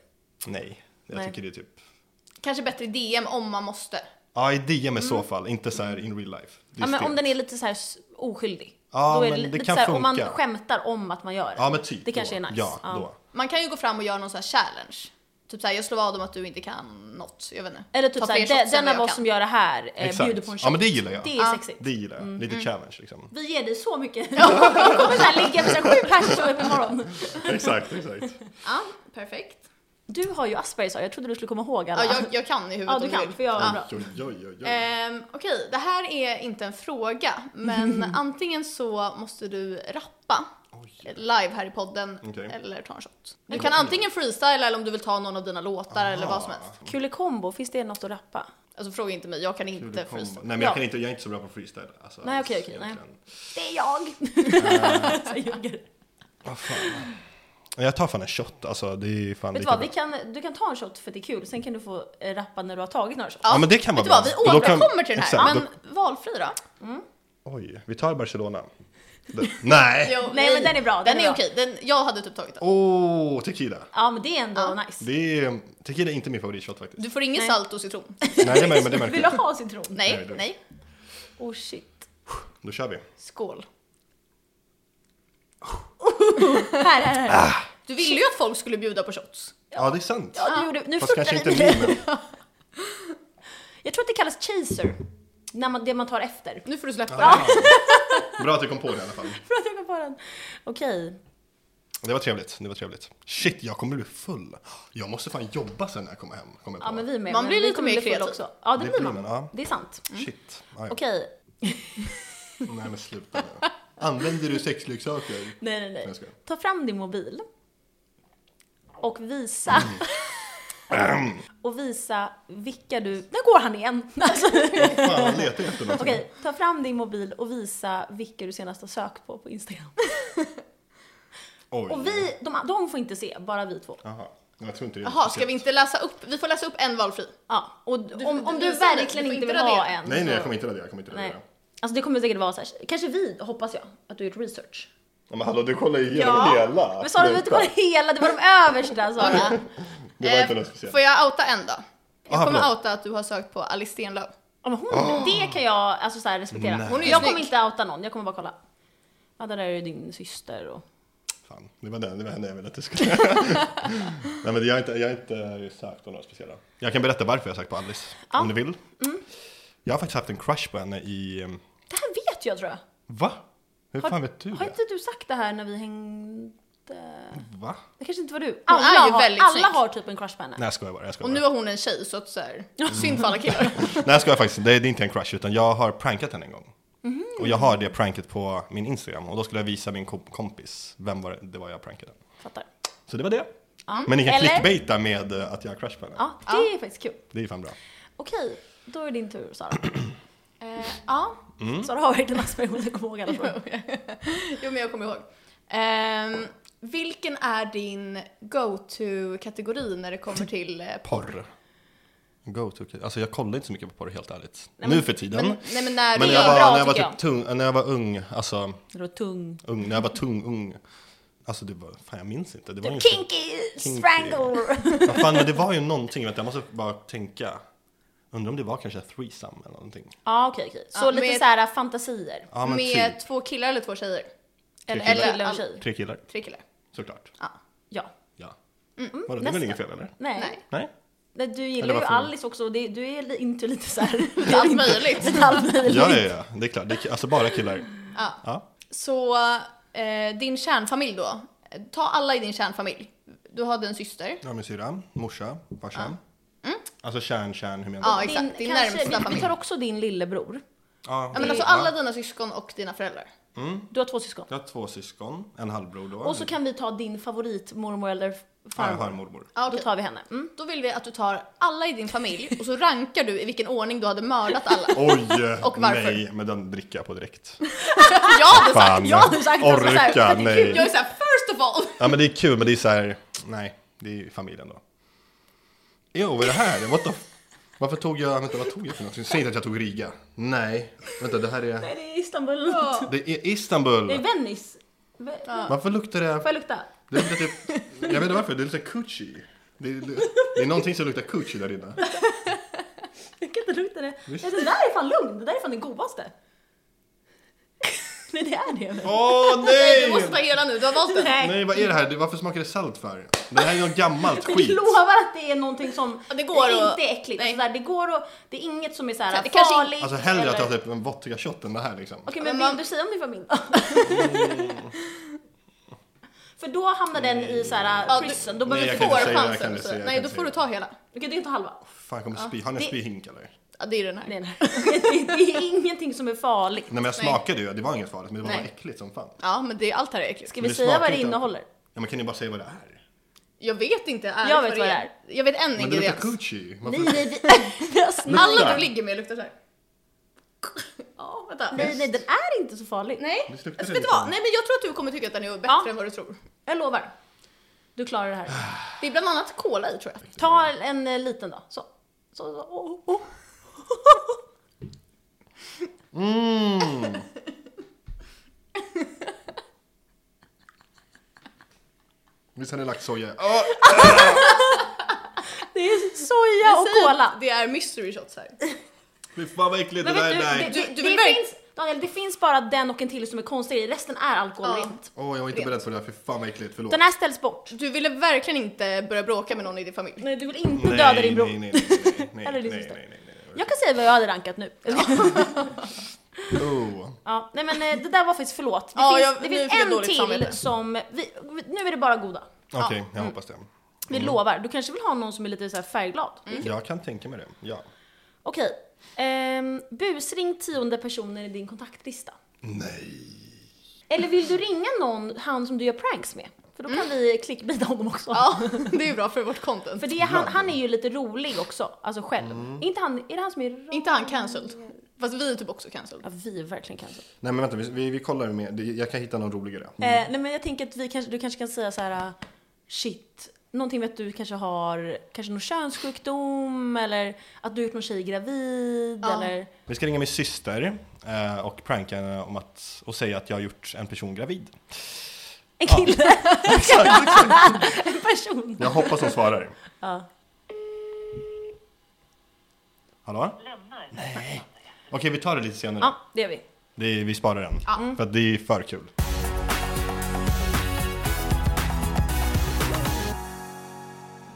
Speaker 1: Nej, jag
Speaker 2: Nej.
Speaker 1: tycker det är typ
Speaker 3: Kanske bättre i DM om man måste.
Speaker 1: Ja, i DM i så fall, inte så här in real life. Det är
Speaker 2: Mm. Ja, men
Speaker 1: stelt.
Speaker 2: om den är lite så här s- oskyldig.
Speaker 1: Ja,
Speaker 2: då är
Speaker 1: men
Speaker 2: li-
Speaker 1: det
Speaker 2: lite
Speaker 1: kan
Speaker 2: så här, Om man
Speaker 1: funka.
Speaker 2: skämtar om att man gör det.
Speaker 1: Ja, men typ.
Speaker 2: Det kanske
Speaker 1: då.
Speaker 2: är nice.
Speaker 1: Ja,
Speaker 2: Ja.
Speaker 1: då.
Speaker 3: Man kan ju gå fram och göra någon sån här challenge. Typ såhär, jag slår vad om att du inte kan något. Jag vet inte.
Speaker 2: Eller typ
Speaker 3: Ta fler
Speaker 2: såhär,
Speaker 3: shots
Speaker 2: den, den
Speaker 3: än vad
Speaker 2: av
Speaker 3: jag
Speaker 2: oss
Speaker 3: kan.
Speaker 2: som gör det här eh,
Speaker 1: Exakt.
Speaker 2: bjuder på en shot.
Speaker 1: Ja, men det gillar jag.
Speaker 2: Det är sexigt.
Speaker 1: Det gillar jag.
Speaker 3: Mm.
Speaker 1: Lite challenge liksom.
Speaker 2: Vi ger dig så mycket. Vi kommer såhär ligga med så här sju pers upp imorgon.
Speaker 1: exakt, exakt.
Speaker 3: Ja, perfekt.
Speaker 2: Du har ju Asperger jag trodde du skulle komma ihåg alla.
Speaker 3: Ja, jag, jag kan i huvudet
Speaker 2: Ja, du
Speaker 3: om
Speaker 2: kan,
Speaker 3: vill.
Speaker 2: för jag-
Speaker 3: Ja.
Speaker 2: Bra.
Speaker 1: Oj, oj, oj, oj.
Speaker 3: Ehm, Okej, det här är inte en fråga, men antingen så måste du rappa
Speaker 1: Oj.
Speaker 3: live här i podden
Speaker 1: Okej.
Speaker 3: eller ta en shot. Du kan antingen freestyla eller om du vill ta någon av dina låtar eller vad som
Speaker 1: Aha.
Speaker 3: helst.
Speaker 2: Kulekombo, finns det något att rappa?
Speaker 3: Alltså fråga inte mig, jag kan
Speaker 1: Hur
Speaker 3: inte
Speaker 1: det kom-
Speaker 3: freestyla.
Speaker 1: Nej men jag,
Speaker 2: Ja.
Speaker 1: kan inte, jag är inte så bra på freestyle. Alltså,
Speaker 2: Nej, okej, okej, nej.
Speaker 1: egentligen.
Speaker 2: Det är jag! Så jag ljuger.
Speaker 1: Vad Ah, fan. Jag tar fan en shot, alltså det är fan
Speaker 2: Vet du
Speaker 1: lika
Speaker 2: vad,
Speaker 1: bra.
Speaker 2: vi kan, du kan ta en shot för det är kul, sen kan du få eh, rappa när du har tagit några shots.
Speaker 1: Ja, men det kan
Speaker 3: Vet
Speaker 1: vara
Speaker 3: du
Speaker 1: bra.
Speaker 3: vad, vi
Speaker 1: Men då kan-
Speaker 3: återkommer till den här.
Speaker 1: exakt,
Speaker 3: men valfri då?
Speaker 1: Oj, vi tar Barcelona. Det- Nej!
Speaker 3: Jo,
Speaker 2: Nej, men den är bra,
Speaker 3: Den,
Speaker 2: den
Speaker 3: är
Speaker 2: är bra.
Speaker 3: okej, den, jag hade typ tagit den.
Speaker 1: Åh, oh, tequila.
Speaker 2: Ja, men det är ändå
Speaker 3: Ja.
Speaker 2: nice.
Speaker 1: Det är, tequila är inte min favoritshot faktiskt.
Speaker 3: Du får ingen
Speaker 2: Nej.
Speaker 3: salt och citron.
Speaker 1: Nej, det, mär- men det märker
Speaker 2: Vill
Speaker 1: jag.
Speaker 2: du ha citron?
Speaker 1: Nej,
Speaker 3: Nej,
Speaker 1: det-
Speaker 3: nej.
Speaker 2: Oh shit.
Speaker 1: Då kör vi.
Speaker 3: Skål.
Speaker 2: Här, här, här.
Speaker 3: Du ville ju att folk skulle bjuda på shots.
Speaker 1: Ja, det är sant.
Speaker 2: Ja, du gjorde, nu
Speaker 1: Fast kanske inte
Speaker 2: flörtar vi.
Speaker 1: min, men
Speaker 2: Jag tror att det kallas chaser. När man, det man tar efter.
Speaker 3: Nu får du släppa
Speaker 1: Ja. Bra att du kom på det i alla fall.
Speaker 2: Bra att jag kom på den. Okej.
Speaker 1: Det var trevligt, det var trevligt. Shit, jag kommer bli full. Jag måste fan jobba sen när jag kommer hem. Kommer jag
Speaker 2: Ja
Speaker 1: på.
Speaker 2: men vi är med.
Speaker 3: Man
Speaker 2: men
Speaker 3: blir
Speaker 2: vi
Speaker 3: lite
Speaker 2: kommer
Speaker 3: mer
Speaker 2: bli fulla
Speaker 3: kreativ.
Speaker 2: Också. Ja det, blir man.
Speaker 1: ja.
Speaker 2: Det är sant.
Speaker 1: Shit. Ah, ja.
Speaker 2: Mm. Okej.
Speaker 1: Nej men sluta nu. Använder du sexleksaker?
Speaker 2: Nej nej
Speaker 1: Jag
Speaker 2: nej.
Speaker 1: skojar.
Speaker 2: Ta fram din mobil. Och visa.
Speaker 1: Mm.
Speaker 2: och visa vilka du... Där går han igen! Alltså, Okej,
Speaker 1: Fan, letar jag efter någonting?
Speaker 2: ta fram din mobil och visa vilka du senast har sökt på på Instagram.
Speaker 1: Oj.
Speaker 2: Och vi, de, de får inte se, bara vi två.
Speaker 1: Jaha, jag tror inte det är
Speaker 3: Jaha, ska
Speaker 1: speciellt.
Speaker 3: vi inte läsa upp? Vi får läsa upp en valfri.
Speaker 2: Ja, och om, om
Speaker 3: du
Speaker 2: du
Speaker 3: visar den.
Speaker 2: verkligen
Speaker 3: Du får
Speaker 2: inte
Speaker 3: inte
Speaker 2: vill ha
Speaker 3: radera.
Speaker 2: en
Speaker 1: Nej nej, jag
Speaker 2: så-
Speaker 1: kommer inte radera. Jag kommer inte radera.
Speaker 2: Nej. Alltså det kommer säkert vara så här. kanske vi, hoppas jag, att du har gjort research.
Speaker 1: Ja, Men hallå, du kollar ju igenom hela.
Speaker 2: Men sa du att du kollade hela? Det var de översta sa du.
Speaker 3: Okej.
Speaker 1: Det var inte
Speaker 3: Eh,
Speaker 1: något speciellt.
Speaker 3: Får jag outa en då? Jag
Speaker 1: Aha,
Speaker 3: kommer
Speaker 1: förlåt.
Speaker 3: outa att du har sökt på Alice Stenlöf.
Speaker 2: Ja, men hon, Det kan jag alltså, så här, respektera.
Speaker 1: Ah. Nej.
Speaker 3: Hon är ju
Speaker 2: jag
Speaker 3: snygg.
Speaker 2: kommer inte outa någon, jag kommer bara kolla. Ja, där är ju din syster och...
Speaker 1: Fan, det var den, det var henne jag ville att du skulle... nej men jag har inte, jag har inte sökt på några speciella. Jag kan berätta varför jag har sökt på Alice.
Speaker 2: Ja. Mm.
Speaker 1: Om du vill. Jag har faktiskt haft en crush på henne i... ehm,
Speaker 2: Det här vet jag tror jag.
Speaker 1: Va? Hur
Speaker 2: Har-
Speaker 1: fan vet du
Speaker 2: Har
Speaker 1: det?
Speaker 2: inte du sagt det här när vi hängde?
Speaker 1: Va?
Speaker 2: Det kanske inte var du.
Speaker 3: Hon
Speaker 2: Alla,
Speaker 3: är ju
Speaker 2: har,
Speaker 3: väldigt
Speaker 2: alla
Speaker 3: snygg.
Speaker 2: har typ en crush på henne.
Speaker 1: Nej jag skojar bara, jag skojar
Speaker 3: Och
Speaker 1: bara.
Speaker 3: nu har hon en tjej så att så här, synd för alla killar.
Speaker 1: Nej jag skojar faktiskt, det är, det är inte en crush utan jag har prankat henne en gång.
Speaker 2: Mhm.
Speaker 1: Och jag har det pranket på min Instagram och då skulle jag visa min kom- kompis vem var det, det var jag prankade.
Speaker 2: Fattar.
Speaker 1: Så det var det.
Speaker 2: Ja.
Speaker 1: Men ni kan
Speaker 2: Eller?
Speaker 1: clickbaita med eh, att jag har crush på henne.
Speaker 2: Ja, det är faktiskt kul.
Speaker 1: Det är fan bra.
Speaker 2: Okej, då är det din tur Sara. Mm.
Speaker 3: Eh, ja,
Speaker 2: Sara har verkligen Asperger, hon kommer ihåg alla frågor.
Speaker 3: jo men jag kommer ihåg. Ehm, vilken är din go-to-kategori när det kommer till eh,
Speaker 1: Porr. Go to Alltså jag kollar inte så mycket på porr helt ärligt.
Speaker 2: Nej, men-
Speaker 1: nu för tiden.
Speaker 3: Men, nej men när
Speaker 1: Men när
Speaker 3: du
Speaker 1: jag
Speaker 3: gör
Speaker 1: var,
Speaker 2: bra,
Speaker 1: när jag var,
Speaker 2: tycker
Speaker 1: typ tung, när jag var ung, alltså
Speaker 2: Det var tung.
Speaker 1: ung, när jag var tung, ung. Alltså det var, fan jag minns inte. Det var ju inte-
Speaker 2: Kinky strangle!
Speaker 1: Vad fan, men det var ju någonting, vänta jag måste bara tänka. Undrar om det var kanske threesome eller någonting.
Speaker 2: Ja, okej, okej. Så
Speaker 3: Ja,
Speaker 2: lite
Speaker 3: med-
Speaker 2: så här äh, fantasier.
Speaker 1: Ja, men
Speaker 3: Med
Speaker 1: typ.
Speaker 3: två killar eller två tjejer? Eller,
Speaker 1: killar.
Speaker 3: eller
Speaker 2: Kille och
Speaker 3: all-
Speaker 2: tjej.
Speaker 1: Tre killar,
Speaker 3: Tre killar.
Speaker 1: såklart.
Speaker 3: Ja.
Speaker 2: Ja.
Speaker 1: Ja. Vadå, det är väl
Speaker 2: nästa.
Speaker 1: inget fel eller?
Speaker 2: Nej.
Speaker 3: Nej.
Speaker 1: Nej?
Speaker 2: Nej, Du gillar
Speaker 1: Eller
Speaker 2: ju
Speaker 1: varför-
Speaker 2: Alice också, och det, du är li- inte lite så här...
Speaker 3: Allt möjligt.
Speaker 2: Lite allt möjligt.
Speaker 1: Ja, ja, ja, det är klart. Det är, ki- alltså bara killar.
Speaker 3: Ja.
Speaker 1: Ja.
Speaker 3: Så eh, din kärnfamilj då? Ta alla i din kärnfamilj. Du hade en syster.
Speaker 1: Jag har min syrra, morsa, farsan. Alltså kärn, kärn, hur menar
Speaker 3: Ja,
Speaker 1: du?
Speaker 3: exakt. Din
Speaker 2: kanske-
Speaker 3: närmsta
Speaker 2: vi- Vi
Speaker 3: familj.
Speaker 2: tar också din lillebror.
Speaker 1: Ja,
Speaker 3: Ja, men alltså alla dina syskon och dina föräldrar.
Speaker 2: Du har två syskon.
Speaker 1: Jag har två syskon, en halvbror då.
Speaker 2: Och så kan vi ta din favoritmormor eller
Speaker 1: Ja, jag
Speaker 2: farmor.
Speaker 1: har en mormor.
Speaker 3: Ja,
Speaker 2: Då
Speaker 3: okej.
Speaker 2: tar vi henne. Mm.
Speaker 3: Då vill vi att du tar alla i din familj och så rankar du i vilken ordning du hade mördat alla.
Speaker 1: Oj!
Speaker 3: Och varför?
Speaker 1: Nej, men den dricker jag på direkt.
Speaker 3: Jag hade sagt,
Speaker 1: Fan,
Speaker 2: jag hade sagt alltså så här,
Speaker 1: orka,
Speaker 2: för det är kul,
Speaker 1: nej.
Speaker 3: jag är såhär first of all.
Speaker 1: Ja men det är kul, men det är så här, nej, det är ju familjen då. Jo, vad är det här? What the f- Varför tog jag, vänta vad tog jag för någonting? Säg inte att jag tog Riga. Nej, vänta det här är,
Speaker 2: Nej, det är Istanbul.
Speaker 1: det är
Speaker 2: Det är
Speaker 1: Istanbul.
Speaker 2: Venice. Ve-
Speaker 1: Varför luktar
Speaker 2: Får
Speaker 1: det,
Speaker 2: jag lukta?
Speaker 1: det luktar typ, jag vet inte varför, det luktar coochie. Det, det, det är någonting som luktar coochie där inne.
Speaker 2: Jag kan inte lukta det.
Speaker 1: Visst.
Speaker 2: Nej, det där är fan lugn. Det där är fan den godaste. Nej, det är det. men.
Speaker 1: Åh
Speaker 3: Du måste ta
Speaker 1: nej!
Speaker 3: hela nu, du har valt den.
Speaker 2: Nej.
Speaker 1: Nej, vad är det här? Det- Varför smakar det salt för? Det här är något gammalt
Speaker 2: Jag
Speaker 1: skit.
Speaker 2: lovar att det är någonting som
Speaker 3: Ja, det går
Speaker 2: det är
Speaker 3: att-
Speaker 2: inte är äckligt.
Speaker 3: nej.
Speaker 2: Sådär, det går och det är inget som är såhär
Speaker 3: Så här, det kanske-
Speaker 2: farligt.
Speaker 1: Alltså hellre att
Speaker 2: eller- Alltså,
Speaker 1: jag tar typ en vodka shot än det här liksom.
Speaker 2: Okej,
Speaker 3: Ja,
Speaker 2: men
Speaker 3: men
Speaker 2: vill
Speaker 3: man-
Speaker 2: du säga om din familj då?
Speaker 1: Mm.
Speaker 2: För då hamnar den i såhär
Speaker 3: Ja, du-
Speaker 2: prison. Då
Speaker 1: Nej,
Speaker 2: behöver
Speaker 1: jag
Speaker 2: Mm. du Mm.
Speaker 1: kan
Speaker 2: få
Speaker 1: inte
Speaker 2: den.
Speaker 1: säga- jag kan
Speaker 3: Fårchansen.
Speaker 1: inte säga, jag
Speaker 3: Nej,
Speaker 1: kan
Speaker 3: då
Speaker 1: inte
Speaker 3: får du
Speaker 1: säga.
Speaker 3: ta hela.
Speaker 2: Du kan ju ta halva.
Speaker 1: Fan, jag kommer spy. Har ni en
Speaker 2: det-
Speaker 1: spyhink eller?
Speaker 3: Ja, det är den här.
Speaker 2: Det är, den här. det är ingenting som är farligt.
Speaker 1: Nej men jag
Speaker 3: Nej.
Speaker 1: smakade ju, det var inget farligt men det var
Speaker 3: Nej.
Speaker 1: bara äckligt som fan.
Speaker 3: Ja, men det, allt här är äckligt.
Speaker 2: Ska vi
Speaker 1: det
Speaker 2: säga vad
Speaker 1: smakar
Speaker 2: det
Speaker 1: inte-
Speaker 2: innehåller?
Speaker 1: Ja men kan ni bara säga vad det är?
Speaker 3: Jag vet inte ärligt
Speaker 2: Jag vet vad det är.
Speaker 3: Jag vet en
Speaker 1: Men det luktar
Speaker 3: ingrediens.
Speaker 1: coochie.
Speaker 2: Nej,
Speaker 1: Varför-
Speaker 2: nej, vi- vi har snabbt-
Speaker 3: Alla
Speaker 1: Luktar.
Speaker 3: du ligger med luktar såhär. Ja, vänta.
Speaker 2: nej, nej, den är inte så farlig.
Speaker 3: Nej,
Speaker 1: Visst
Speaker 3: alltså,
Speaker 1: luktar det
Speaker 3: vet du
Speaker 1: lite?
Speaker 3: vad? Nej men jag tror att du kommer tycka att den är bättre
Speaker 2: Ja.
Speaker 3: än vad du tror.
Speaker 2: Jag lovar. Du klarar det här.
Speaker 3: Det är bland annat cola i tror jag.
Speaker 2: Ta en eh, liten då. Så. så, så. Oh, oh.
Speaker 1: Mm. Visst har ni lagt soja? Åh!
Speaker 2: Det är soja
Speaker 3: Vi säger
Speaker 2: och
Speaker 3: att
Speaker 2: cola.
Speaker 3: Det är mystery shots här.
Speaker 1: Fy fan vad äckligt det
Speaker 2: Men
Speaker 1: där
Speaker 2: vet
Speaker 1: är.
Speaker 2: du, det,
Speaker 1: nej.
Speaker 2: det,
Speaker 3: Du- du vill
Speaker 2: det
Speaker 3: verkligen-
Speaker 2: finns, Daniel, det finns bara den och en till som är konstig i. Resten är alkoholrent.
Speaker 1: Åh jag var inte beredd på det där, fy fan vad äckligt, förlåt.
Speaker 2: Den här ställs bort.
Speaker 3: Du ville verkligen inte börja bråka med någon i din familj.
Speaker 2: Nej, du vill inte döda din bror.
Speaker 1: Nej nej nej nej, nej,
Speaker 2: Eller
Speaker 1: nej,
Speaker 2: din
Speaker 1: nej,
Speaker 2: syster.
Speaker 1: nej, nej, nej.
Speaker 2: Jag kan säga vad jag hade rankat nu.
Speaker 1: Oh.
Speaker 2: Ja, nej men eh, det där var faktiskt förlåt. Det
Speaker 3: Ja,
Speaker 2: finns,
Speaker 3: jag-
Speaker 2: det
Speaker 3: nu
Speaker 2: finns
Speaker 3: fick jag
Speaker 2: en
Speaker 3: dåligt
Speaker 2: till
Speaker 3: samvete.
Speaker 2: som, vi, vi- nu är det bara goda.
Speaker 1: Okej, jag
Speaker 2: Mm.
Speaker 1: hoppas det.
Speaker 2: Vi
Speaker 1: Mm.
Speaker 2: lovar, du kanske vill ha någon som är lite så här färgglad.
Speaker 1: Jag kan tänka mig det, ja.
Speaker 2: Okej. Ehm, busring tionde personen i din kontaktlista.
Speaker 1: Nej.
Speaker 2: Eller vill du ringa någon, han som du gör pranks med? För då kan vi klickbita honom också.
Speaker 3: Mm. Ja, det är ju bra för vårt content.
Speaker 2: För det, är han, han är ju lite rolig också, alltså själv.
Speaker 1: Mm.
Speaker 2: Inte han, är det han som är
Speaker 3: Inte han cancelled. Fast vi är typ också cancelled.
Speaker 2: Ja, vi är verkligen kanske.
Speaker 1: Nej men vänta, vi, vi, vi kollar med, det- jag kan hitta någon roligare.
Speaker 2: Eh, nej men jag tänker att vi kanske, du kanske kan säga så här: ah, shit, någonting med att du kanske har, kanske någon könssjukdom eller att du har gjort någon tjej gravid
Speaker 3: Ja.
Speaker 2: eller
Speaker 1: Vi ska ringa min syster eh, och pranka henne om att, och säga att jag har gjort en person gravid.
Speaker 2: en
Speaker 1: Ja.
Speaker 2: kille,
Speaker 1: Exakt, exakt.
Speaker 2: en person.
Speaker 1: Jag hoppas hon svarar.
Speaker 2: Ja.
Speaker 1: Hallå? Nej. Okej, vi tar det lite senare.
Speaker 2: Ja, Mm. det gör vi.
Speaker 1: Det är, vi sparar den.
Speaker 3: Ja.
Speaker 1: För att det är för kul.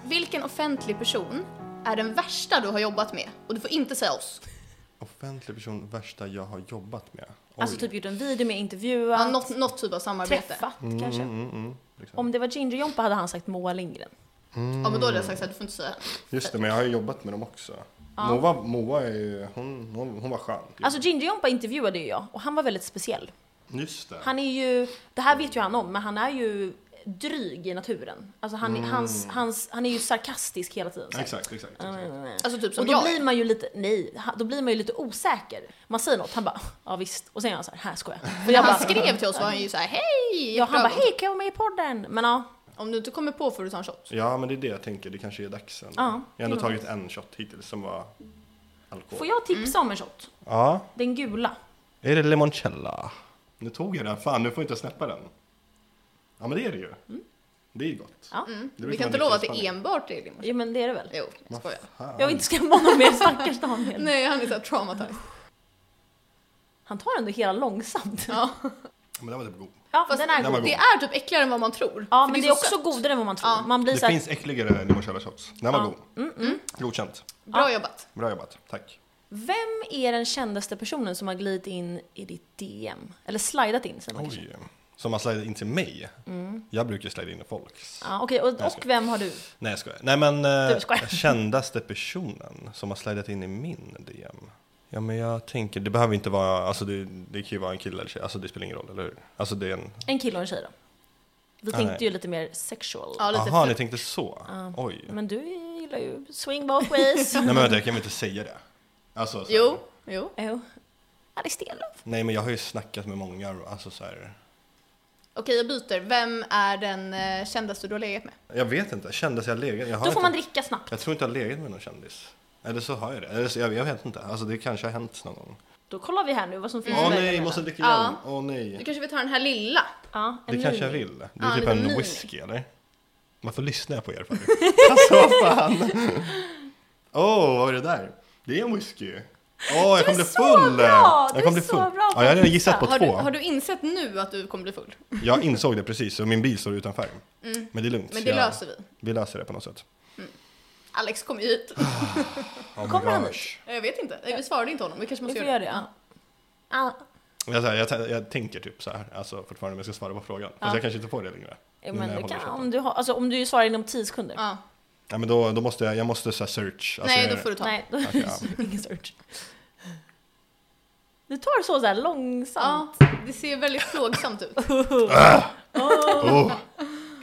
Speaker 3: Vilken offentlig person är den värsta du har jobbat med? Och du får inte säga oss.
Speaker 1: Offentlig person, värsta jag har jobbat med. Oj.
Speaker 2: Alltså typ gjort en video med
Speaker 3: Ja,
Speaker 2: intervjuat,
Speaker 3: något, något typ av samarbete.
Speaker 2: träffat kanske.
Speaker 1: Mm, mm, liksom.
Speaker 2: Om det var Ginger Jompa hade han sagt Moa Lindgren.
Speaker 3: Ja men då hade jag sagt att du får inte säga.
Speaker 1: Just det, men jag har ju jobbat med dem också. Moa, Moa är ju, hon, hon, hon var skön. typ.
Speaker 2: Alltså Ginger Jompa intervjuade ju jag och han var väldigt speciell.
Speaker 1: Just det.
Speaker 2: Han är ju, det här vet ju han om, men han är ju dryg i naturen. Alltså han, hans, hans, han är ju sarkastisk hela tiden. så här.
Speaker 1: Mm. Exakt, exakt. exakt.
Speaker 3: Alltså typ som
Speaker 2: Och då
Speaker 3: jag.
Speaker 2: blir man ju lite, nej, ha- då blir man ju lite osäker. Man säger något, han bara, ja visst. Och sen är han så här, här skojar jag. Och
Speaker 3: När
Speaker 2: jag
Speaker 3: han
Speaker 2: bara,
Speaker 3: skrev till oss var han ju såhär hej!
Speaker 2: ja, han bara,
Speaker 3: jätteögon."
Speaker 2: hej kan jag vara med i podden? Men ja,
Speaker 3: Om du inte kommer på får du ta en shot.
Speaker 1: Ja, men det är det jag tänker. Det kanske är dags ändå.
Speaker 2: Ja,
Speaker 1: jag har ändå
Speaker 2: det var
Speaker 1: tagit en shot hittills som var alkohol.
Speaker 2: får jag tipsa om en shot?
Speaker 1: Ja.
Speaker 2: Den gula.
Speaker 1: Är det limoncella? Nu tog jag den, fan nu får jag inte släppa den. Ja men det är det ju. Det är ju gott.
Speaker 2: Ja.
Speaker 1: Det
Speaker 3: Mm. Vi
Speaker 1: brukar
Speaker 3: kan
Speaker 1: man
Speaker 3: inte lova att det
Speaker 1: dricka i Spanien.
Speaker 3: enbart är limousin.
Speaker 2: Jo men det är det väl.
Speaker 3: Jo, jag
Speaker 1: Vad
Speaker 3: skojar.
Speaker 2: Jag
Speaker 1: fan.
Speaker 2: vill inte skrämma honom mer, stackars Daniel.
Speaker 3: Nej, han är såhär traumatized.
Speaker 2: Han tar ändå hela långsamt. Ja,
Speaker 3: Ja.
Speaker 1: Men det var typ god.
Speaker 3: Fast
Speaker 2: den är
Speaker 1: den
Speaker 2: god.
Speaker 1: var god.
Speaker 3: Det är typ äckligare än vad man tror.
Speaker 2: Ja,
Speaker 3: För
Speaker 2: men det är
Speaker 3: så
Speaker 2: också
Speaker 3: sött.
Speaker 2: godare än vad man tror.
Speaker 3: Ja.
Speaker 2: Man blir
Speaker 1: Det
Speaker 2: så här,
Speaker 1: finns äckligare limoncello shots. Den var
Speaker 2: Ja.
Speaker 1: god.
Speaker 3: Mm,
Speaker 1: Godkänt.
Speaker 3: Bra jobbat.
Speaker 1: Bra jobbat. Tack.
Speaker 2: Vem är den kändaste personen som har glidit in i ditt DM? Eller slidat in säger man kanske.
Speaker 1: Oj. Som har slidat in till mig.
Speaker 2: Mm.
Speaker 1: Jag brukar ju slida in i folks.
Speaker 2: Ja, Okej, och,
Speaker 1: jag ska-
Speaker 2: och vem har du?
Speaker 1: Nej jag skojar. Nej men eh,
Speaker 2: Du skojar.
Speaker 1: kändaste personen som har slidat in i min DM. Ja men jag tänker, det behöver inte vara, alltså det, det kan ju vara en kille eller tjej, alltså det spelar ingen roll, eller hur? Alltså det är en,
Speaker 2: En kille och en tjej då? Vi
Speaker 1: Ah,
Speaker 2: tänkte
Speaker 1: nej.
Speaker 2: ju lite mer sexual.
Speaker 3: Ja, lite
Speaker 1: aha ni
Speaker 3: flört.
Speaker 1: tänkte så?
Speaker 2: Ja.
Speaker 1: Oj.
Speaker 2: Men du gillar ju swing both ways.
Speaker 1: Nej men vänta, jag kan väl inte säga det? Alltså, så här-
Speaker 3: Jo, jo.
Speaker 2: Jo. Ja, det är Stenlöf.
Speaker 1: Nej men jag har ju snackat med många, alltså så här.
Speaker 3: Okej, jag byter. Vem är den eh, kändaste du har legat med?
Speaker 1: Jag vet inte, kändes jag legat? Jag har
Speaker 2: Då får
Speaker 1: inte,
Speaker 2: man dricka snabbt.
Speaker 1: Jag tror inte jag har legat med någon kändis. Eller så har jag det, eller så, jag, jag vet inte. Alltså det kanske har hänt någon gång.
Speaker 2: Då kollar vi här nu vad som finns
Speaker 1: Åh
Speaker 2: att välja
Speaker 1: nej,
Speaker 2: mellan.
Speaker 1: måste dricka
Speaker 3: Ja.
Speaker 1: igen. Åh
Speaker 3: Du
Speaker 1: nej.
Speaker 3: kanske vill ta den här lilla?
Speaker 2: Ja, en
Speaker 1: Det kanske jag
Speaker 2: mini.
Speaker 1: vill. Det är
Speaker 3: Ja,
Speaker 1: typ
Speaker 3: lite
Speaker 1: en
Speaker 3: mini.
Speaker 1: whisky eller? Varför lyssnar jag på er för? alltså vad fan. Åh, vad var det där? Det är en whisky. Åh, jag
Speaker 2: är
Speaker 1: kommer bli
Speaker 2: så
Speaker 1: full!
Speaker 2: bra!
Speaker 1: Jag
Speaker 2: Du
Speaker 1: kommer
Speaker 2: är
Speaker 1: bli
Speaker 2: så
Speaker 1: full.
Speaker 2: bra på
Speaker 1: Ja, jag har
Speaker 2: att
Speaker 1: redan
Speaker 2: gissa.
Speaker 1: gissat på
Speaker 3: Har
Speaker 1: två.
Speaker 3: du, har du insett nu att du kommer bli full?
Speaker 1: Jag insåg det precis och min bil står utanför. Mm. Men det är lugnt.
Speaker 3: Men
Speaker 1: så
Speaker 3: det
Speaker 1: jag,
Speaker 3: löser vi.
Speaker 1: vi löser det på något sätt.
Speaker 3: Alex kom ju hit.
Speaker 1: Oh my
Speaker 2: Kommer han
Speaker 1: gosh.
Speaker 3: Jag vet inte. Nej, Vi svarade inte honom. Vi kanske
Speaker 2: Vi
Speaker 3: måste
Speaker 2: får
Speaker 3: göra
Speaker 2: göra
Speaker 3: det.
Speaker 2: det. Ja. Ja.
Speaker 1: Jag, så här, jag, t- jag tänker typ så här, alltså fortfarande om jag ska svara på frågan. Fast
Speaker 2: Ja.
Speaker 1: jag kanske inte får det längre.
Speaker 2: Ja,
Speaker 1: Nu när
Speaker 2: Men
Speaker 1: jag
Speaker 2: det
Speaker 1: håller
Speaker 2: kan,
Speaker 1: käften.
Speaker 2: om, du har, alltså, om du svarar inom 10 sekunder.
Speaker 3: Ja.
Speaker 1: Ja, men då, då måste jag, jag måste så här search. Alltså,
Speaker 3: Nej,
Speaker 1: jag,
Speaker 3: då får du ta.
Speaker 2: Nej, då
Speaker 1: Okej, ja.
Speaker 2: ingen search. Du tar det så, så här långsamt.
Speaker 3: Ja, det ser väldigt plågsamt ut.
Speaker 1: oh.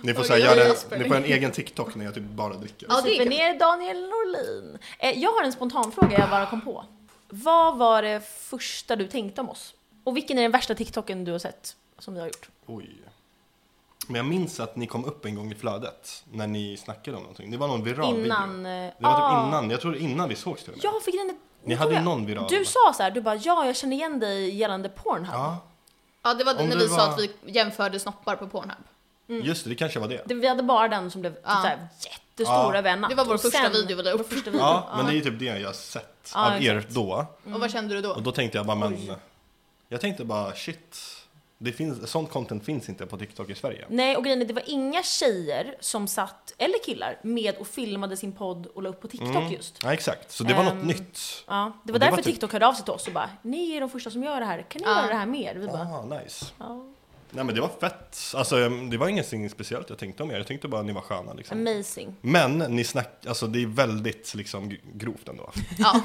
Speaker 1: Ni får, så här,
Speaker 3: Okej,
Speaker 1: göra
Speaker 3: Jesper.
Speaker 1: en, ni får en egen TikTok när jag typ bara dricker.
Speaker 3: Ja, det är
Speaker 2: Super
Speaker 3: kul.
Speaker 2: ner Daniel Norlin. Eh, jag har en spontan fråga jag bara kom på. Vad var det första du tänkte om oss? Och vilken är den värsta TikToken du har sett som vi har gjort?
Speaker 1: Oj. Men jag minns att ni kom upp en gång i flödet när ni snackade om någonting. Det var någon viral video.
Speaker 2: innan... eh,
Speaker 1: Det var
Speaker 2: ah.
Speaker 1: typ innan, jag tror innan vi sågs till och med.
Speaker 2: Jag fick den...
Speaker 1: ni hade ju
Speaker 2: jag-
Speaker 1: någon viral.
Speaker 2: Du sa så här, du bara ja, jag känner igen dig gällande Pornhub.
Speaker 1: Ja,
Speaker 3: Ja, det var
Speaker 1: Om
Speaker 3: när
Speaker 1: du
Speaker 3: vi
Speaker 1: var-
Speaker 3: sa att vi jämförde snoppar på Pornhub.
Speaker 1: just det, det kanske var det.
Speaker 2: Det, vi hade bara den som blev typ
Speaker 3: Ja.
Speaker 2: så här, jättestor
Speaker 1: Ja.
Speaker 2: över en natt.
Speaker 3: Det var vår
Speaker 2: Och
Speaker 3: första
Speaker 2: sen-
Speaker 3: video vi la upp.
Speaker 2: Vår första video.
Speaker 1: Ja, men det är ju typ det jag har sett
Speaker 2: Ja,
Speaker 1: av er då.
Speaker 2: Mm.
Speaker 3: Och vad kände du då?
Speaker 1: Och då tänkte jag bara, men...
Speaker 2: Oj.
Speaker 1: Jag tänkte bara, shit. Det finns, sånt content finns inte på TikTok i Sverige.
Speaker 2: Nej, och grejen är, det var inga tjejer som satt, eller killar, med och filmade sin podd och la upp på TikTok just.
Speaker 1: Ja, exakt. Så det var
Speaker 2: Ehm,
Speaker 1: något nytt.
Speaker 2: Mm. Ja, det var
Speaker 1: Och det
Speaker 2: därför
Speaker 1: var typ-
Speaker 2: TikTok hörde av sig till oss och bara “Ni är de första som gör det här, kan ni
Speaker 3: Ja.
Speaker 2: göra det här mer?” Vi bara
Speaker 1: Ah, nice.
Speaker 2: ja.
Speaker 1: Nej men det var fett. Alltså det var ingenting speciellt jag tänkte om er. Jag tänkte bara att ni var sköna liksom.
Speaker 2: “Amazing”.
Speaker 1: Men ni snack, alltså det är väldigt liksom g- grovt ändå.
Speaker 3: Ja.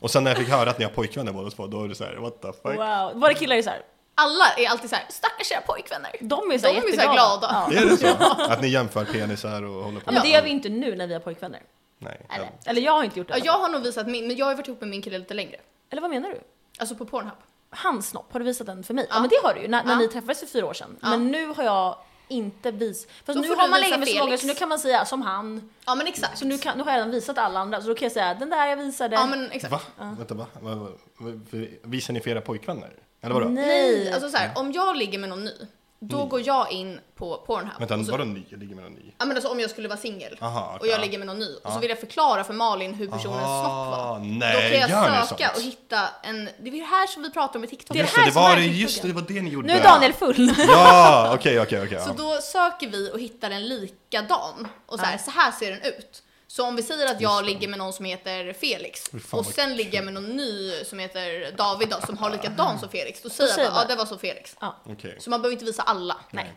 Speaker 1: Och sen när jag fick höra att ni har pojkvänner båda två, då är det så här, what the fuck?
Speaker 2: Wow. Våra killar är såhär,
Speaker 3: Alla är alltid så här, stackars era pojkvänner.
Speaker 2: de är såhär
Speaker 3: De är så här
Speaker 2: jätteglada.
Speaker 3: glada.
Speaker 2: Ja.
Speaker 1: Är det så? Att ni jämför penisar och håller på?
Speaker 2: Ja, men det gör vi inte nu när vi har pojkvänner.
Speaker 1: Nej.
Speaker 3: Eller?
Speaker 2: Eller jag har inte gjort det.
Speaker 3: Ja, jag har nog visat min, men jag har ju varit ihop med min kille lite längre.
Speaker 2: Eller vad menar du?
Speaker 3: Alltså på Pornhub.
Speaker 2: Hans snopp, har du visat den för mig? Ja,
Speaker 3: Ja.
Speaker 2: men det har du ju, när, när
Speaker 3: Ja.
Speaker 2: ni träffades för fyra år sedan.
Speaker 3: Ja.
Speaker 2: Men nu har jag inte visat. Fast
Speaker 3: Då
Speaker 2: nu
Speaker 3: får
Speaker 2: har
Speaker 3: du
Speaker 2: man
Speaker 3: visa
Speaker 2: legat med så många
Speaker 3: Felix.
Speaker 2: så nu kan man säga som han.
Speaker 3: Ja men exakt.
Speaker 2: Så nu, kan, nu har jag redan visat alla andra, så då kan jag säga den där jag visade.
Speaker 3: Ja men exakt.
Speaker 1: Va? Vänta va? Va- va- va- Visar ni för era pojkvänner? Eller vadå?
Speaker 3: Nej, alltså så här, om jag ligger med någon ny, då går jag in på Pornhub.
Speaker 1: Mm. Vänta,
Speaker 3: och så,
Speaker 1: vadå ni? Jag ligger med någon ny?
Speaker 3: Ja men alltså om jag skulle vara singel
Speaker 1: Aha,
Speaker 3: och
Speaker 1: okej,
Speaker 3: jag
Speaker 1: ja.
Speaker 3: ligger med någon ny och så
Speaker 1: Ja.
Speaker 3: vill jag förklara för Malin hur personens
Speaker 1: Aha,
Speaker 3: snopp var.
Speaker 1: Ah, nej,
Speaker 3: då kan
Speaker 1: gör ni
Speaker 3: jag söka
Speaker 1: sånt?
Speaker 3: och hitta en, det är ju det här som vi pratar om i TikTok.
Speaker 1: Just
Speaker 3: här
Speaker 1: det,
Speaker 3: som
Speaker 1: var
Speaker 3: är
Speaker 1: det,
Speaker 3: TikTok.
Speaker 1: just det, det var det ni gjorde.
Speaker 2: nu är Daniel full.
Speaker 1: Ja, okej, okej, okej.
Speaker 3: Så
Speaker 1: ja.
Speaker 3: då söker vi och hittar en likadan och så här, så här ser den ut. Så om vi säger att jag ligger med någon som heter Felix
Speaker 1: Fy fan
Speaker 3: och
Speaker 1: vad
Speaker 3: sen ligger jag med någon ny som heter David då, som har likadan som Felix, då säger
Speaker 2: säger
Speaker 3: jag bara, ja
Speaker 2: man.
Speaker 3: det var som Felix.
Speaker 2: ja.
Speaker 1: Okej.
Speaker 3: Så man behöver inte visa alla.
Speaker 2: Nej.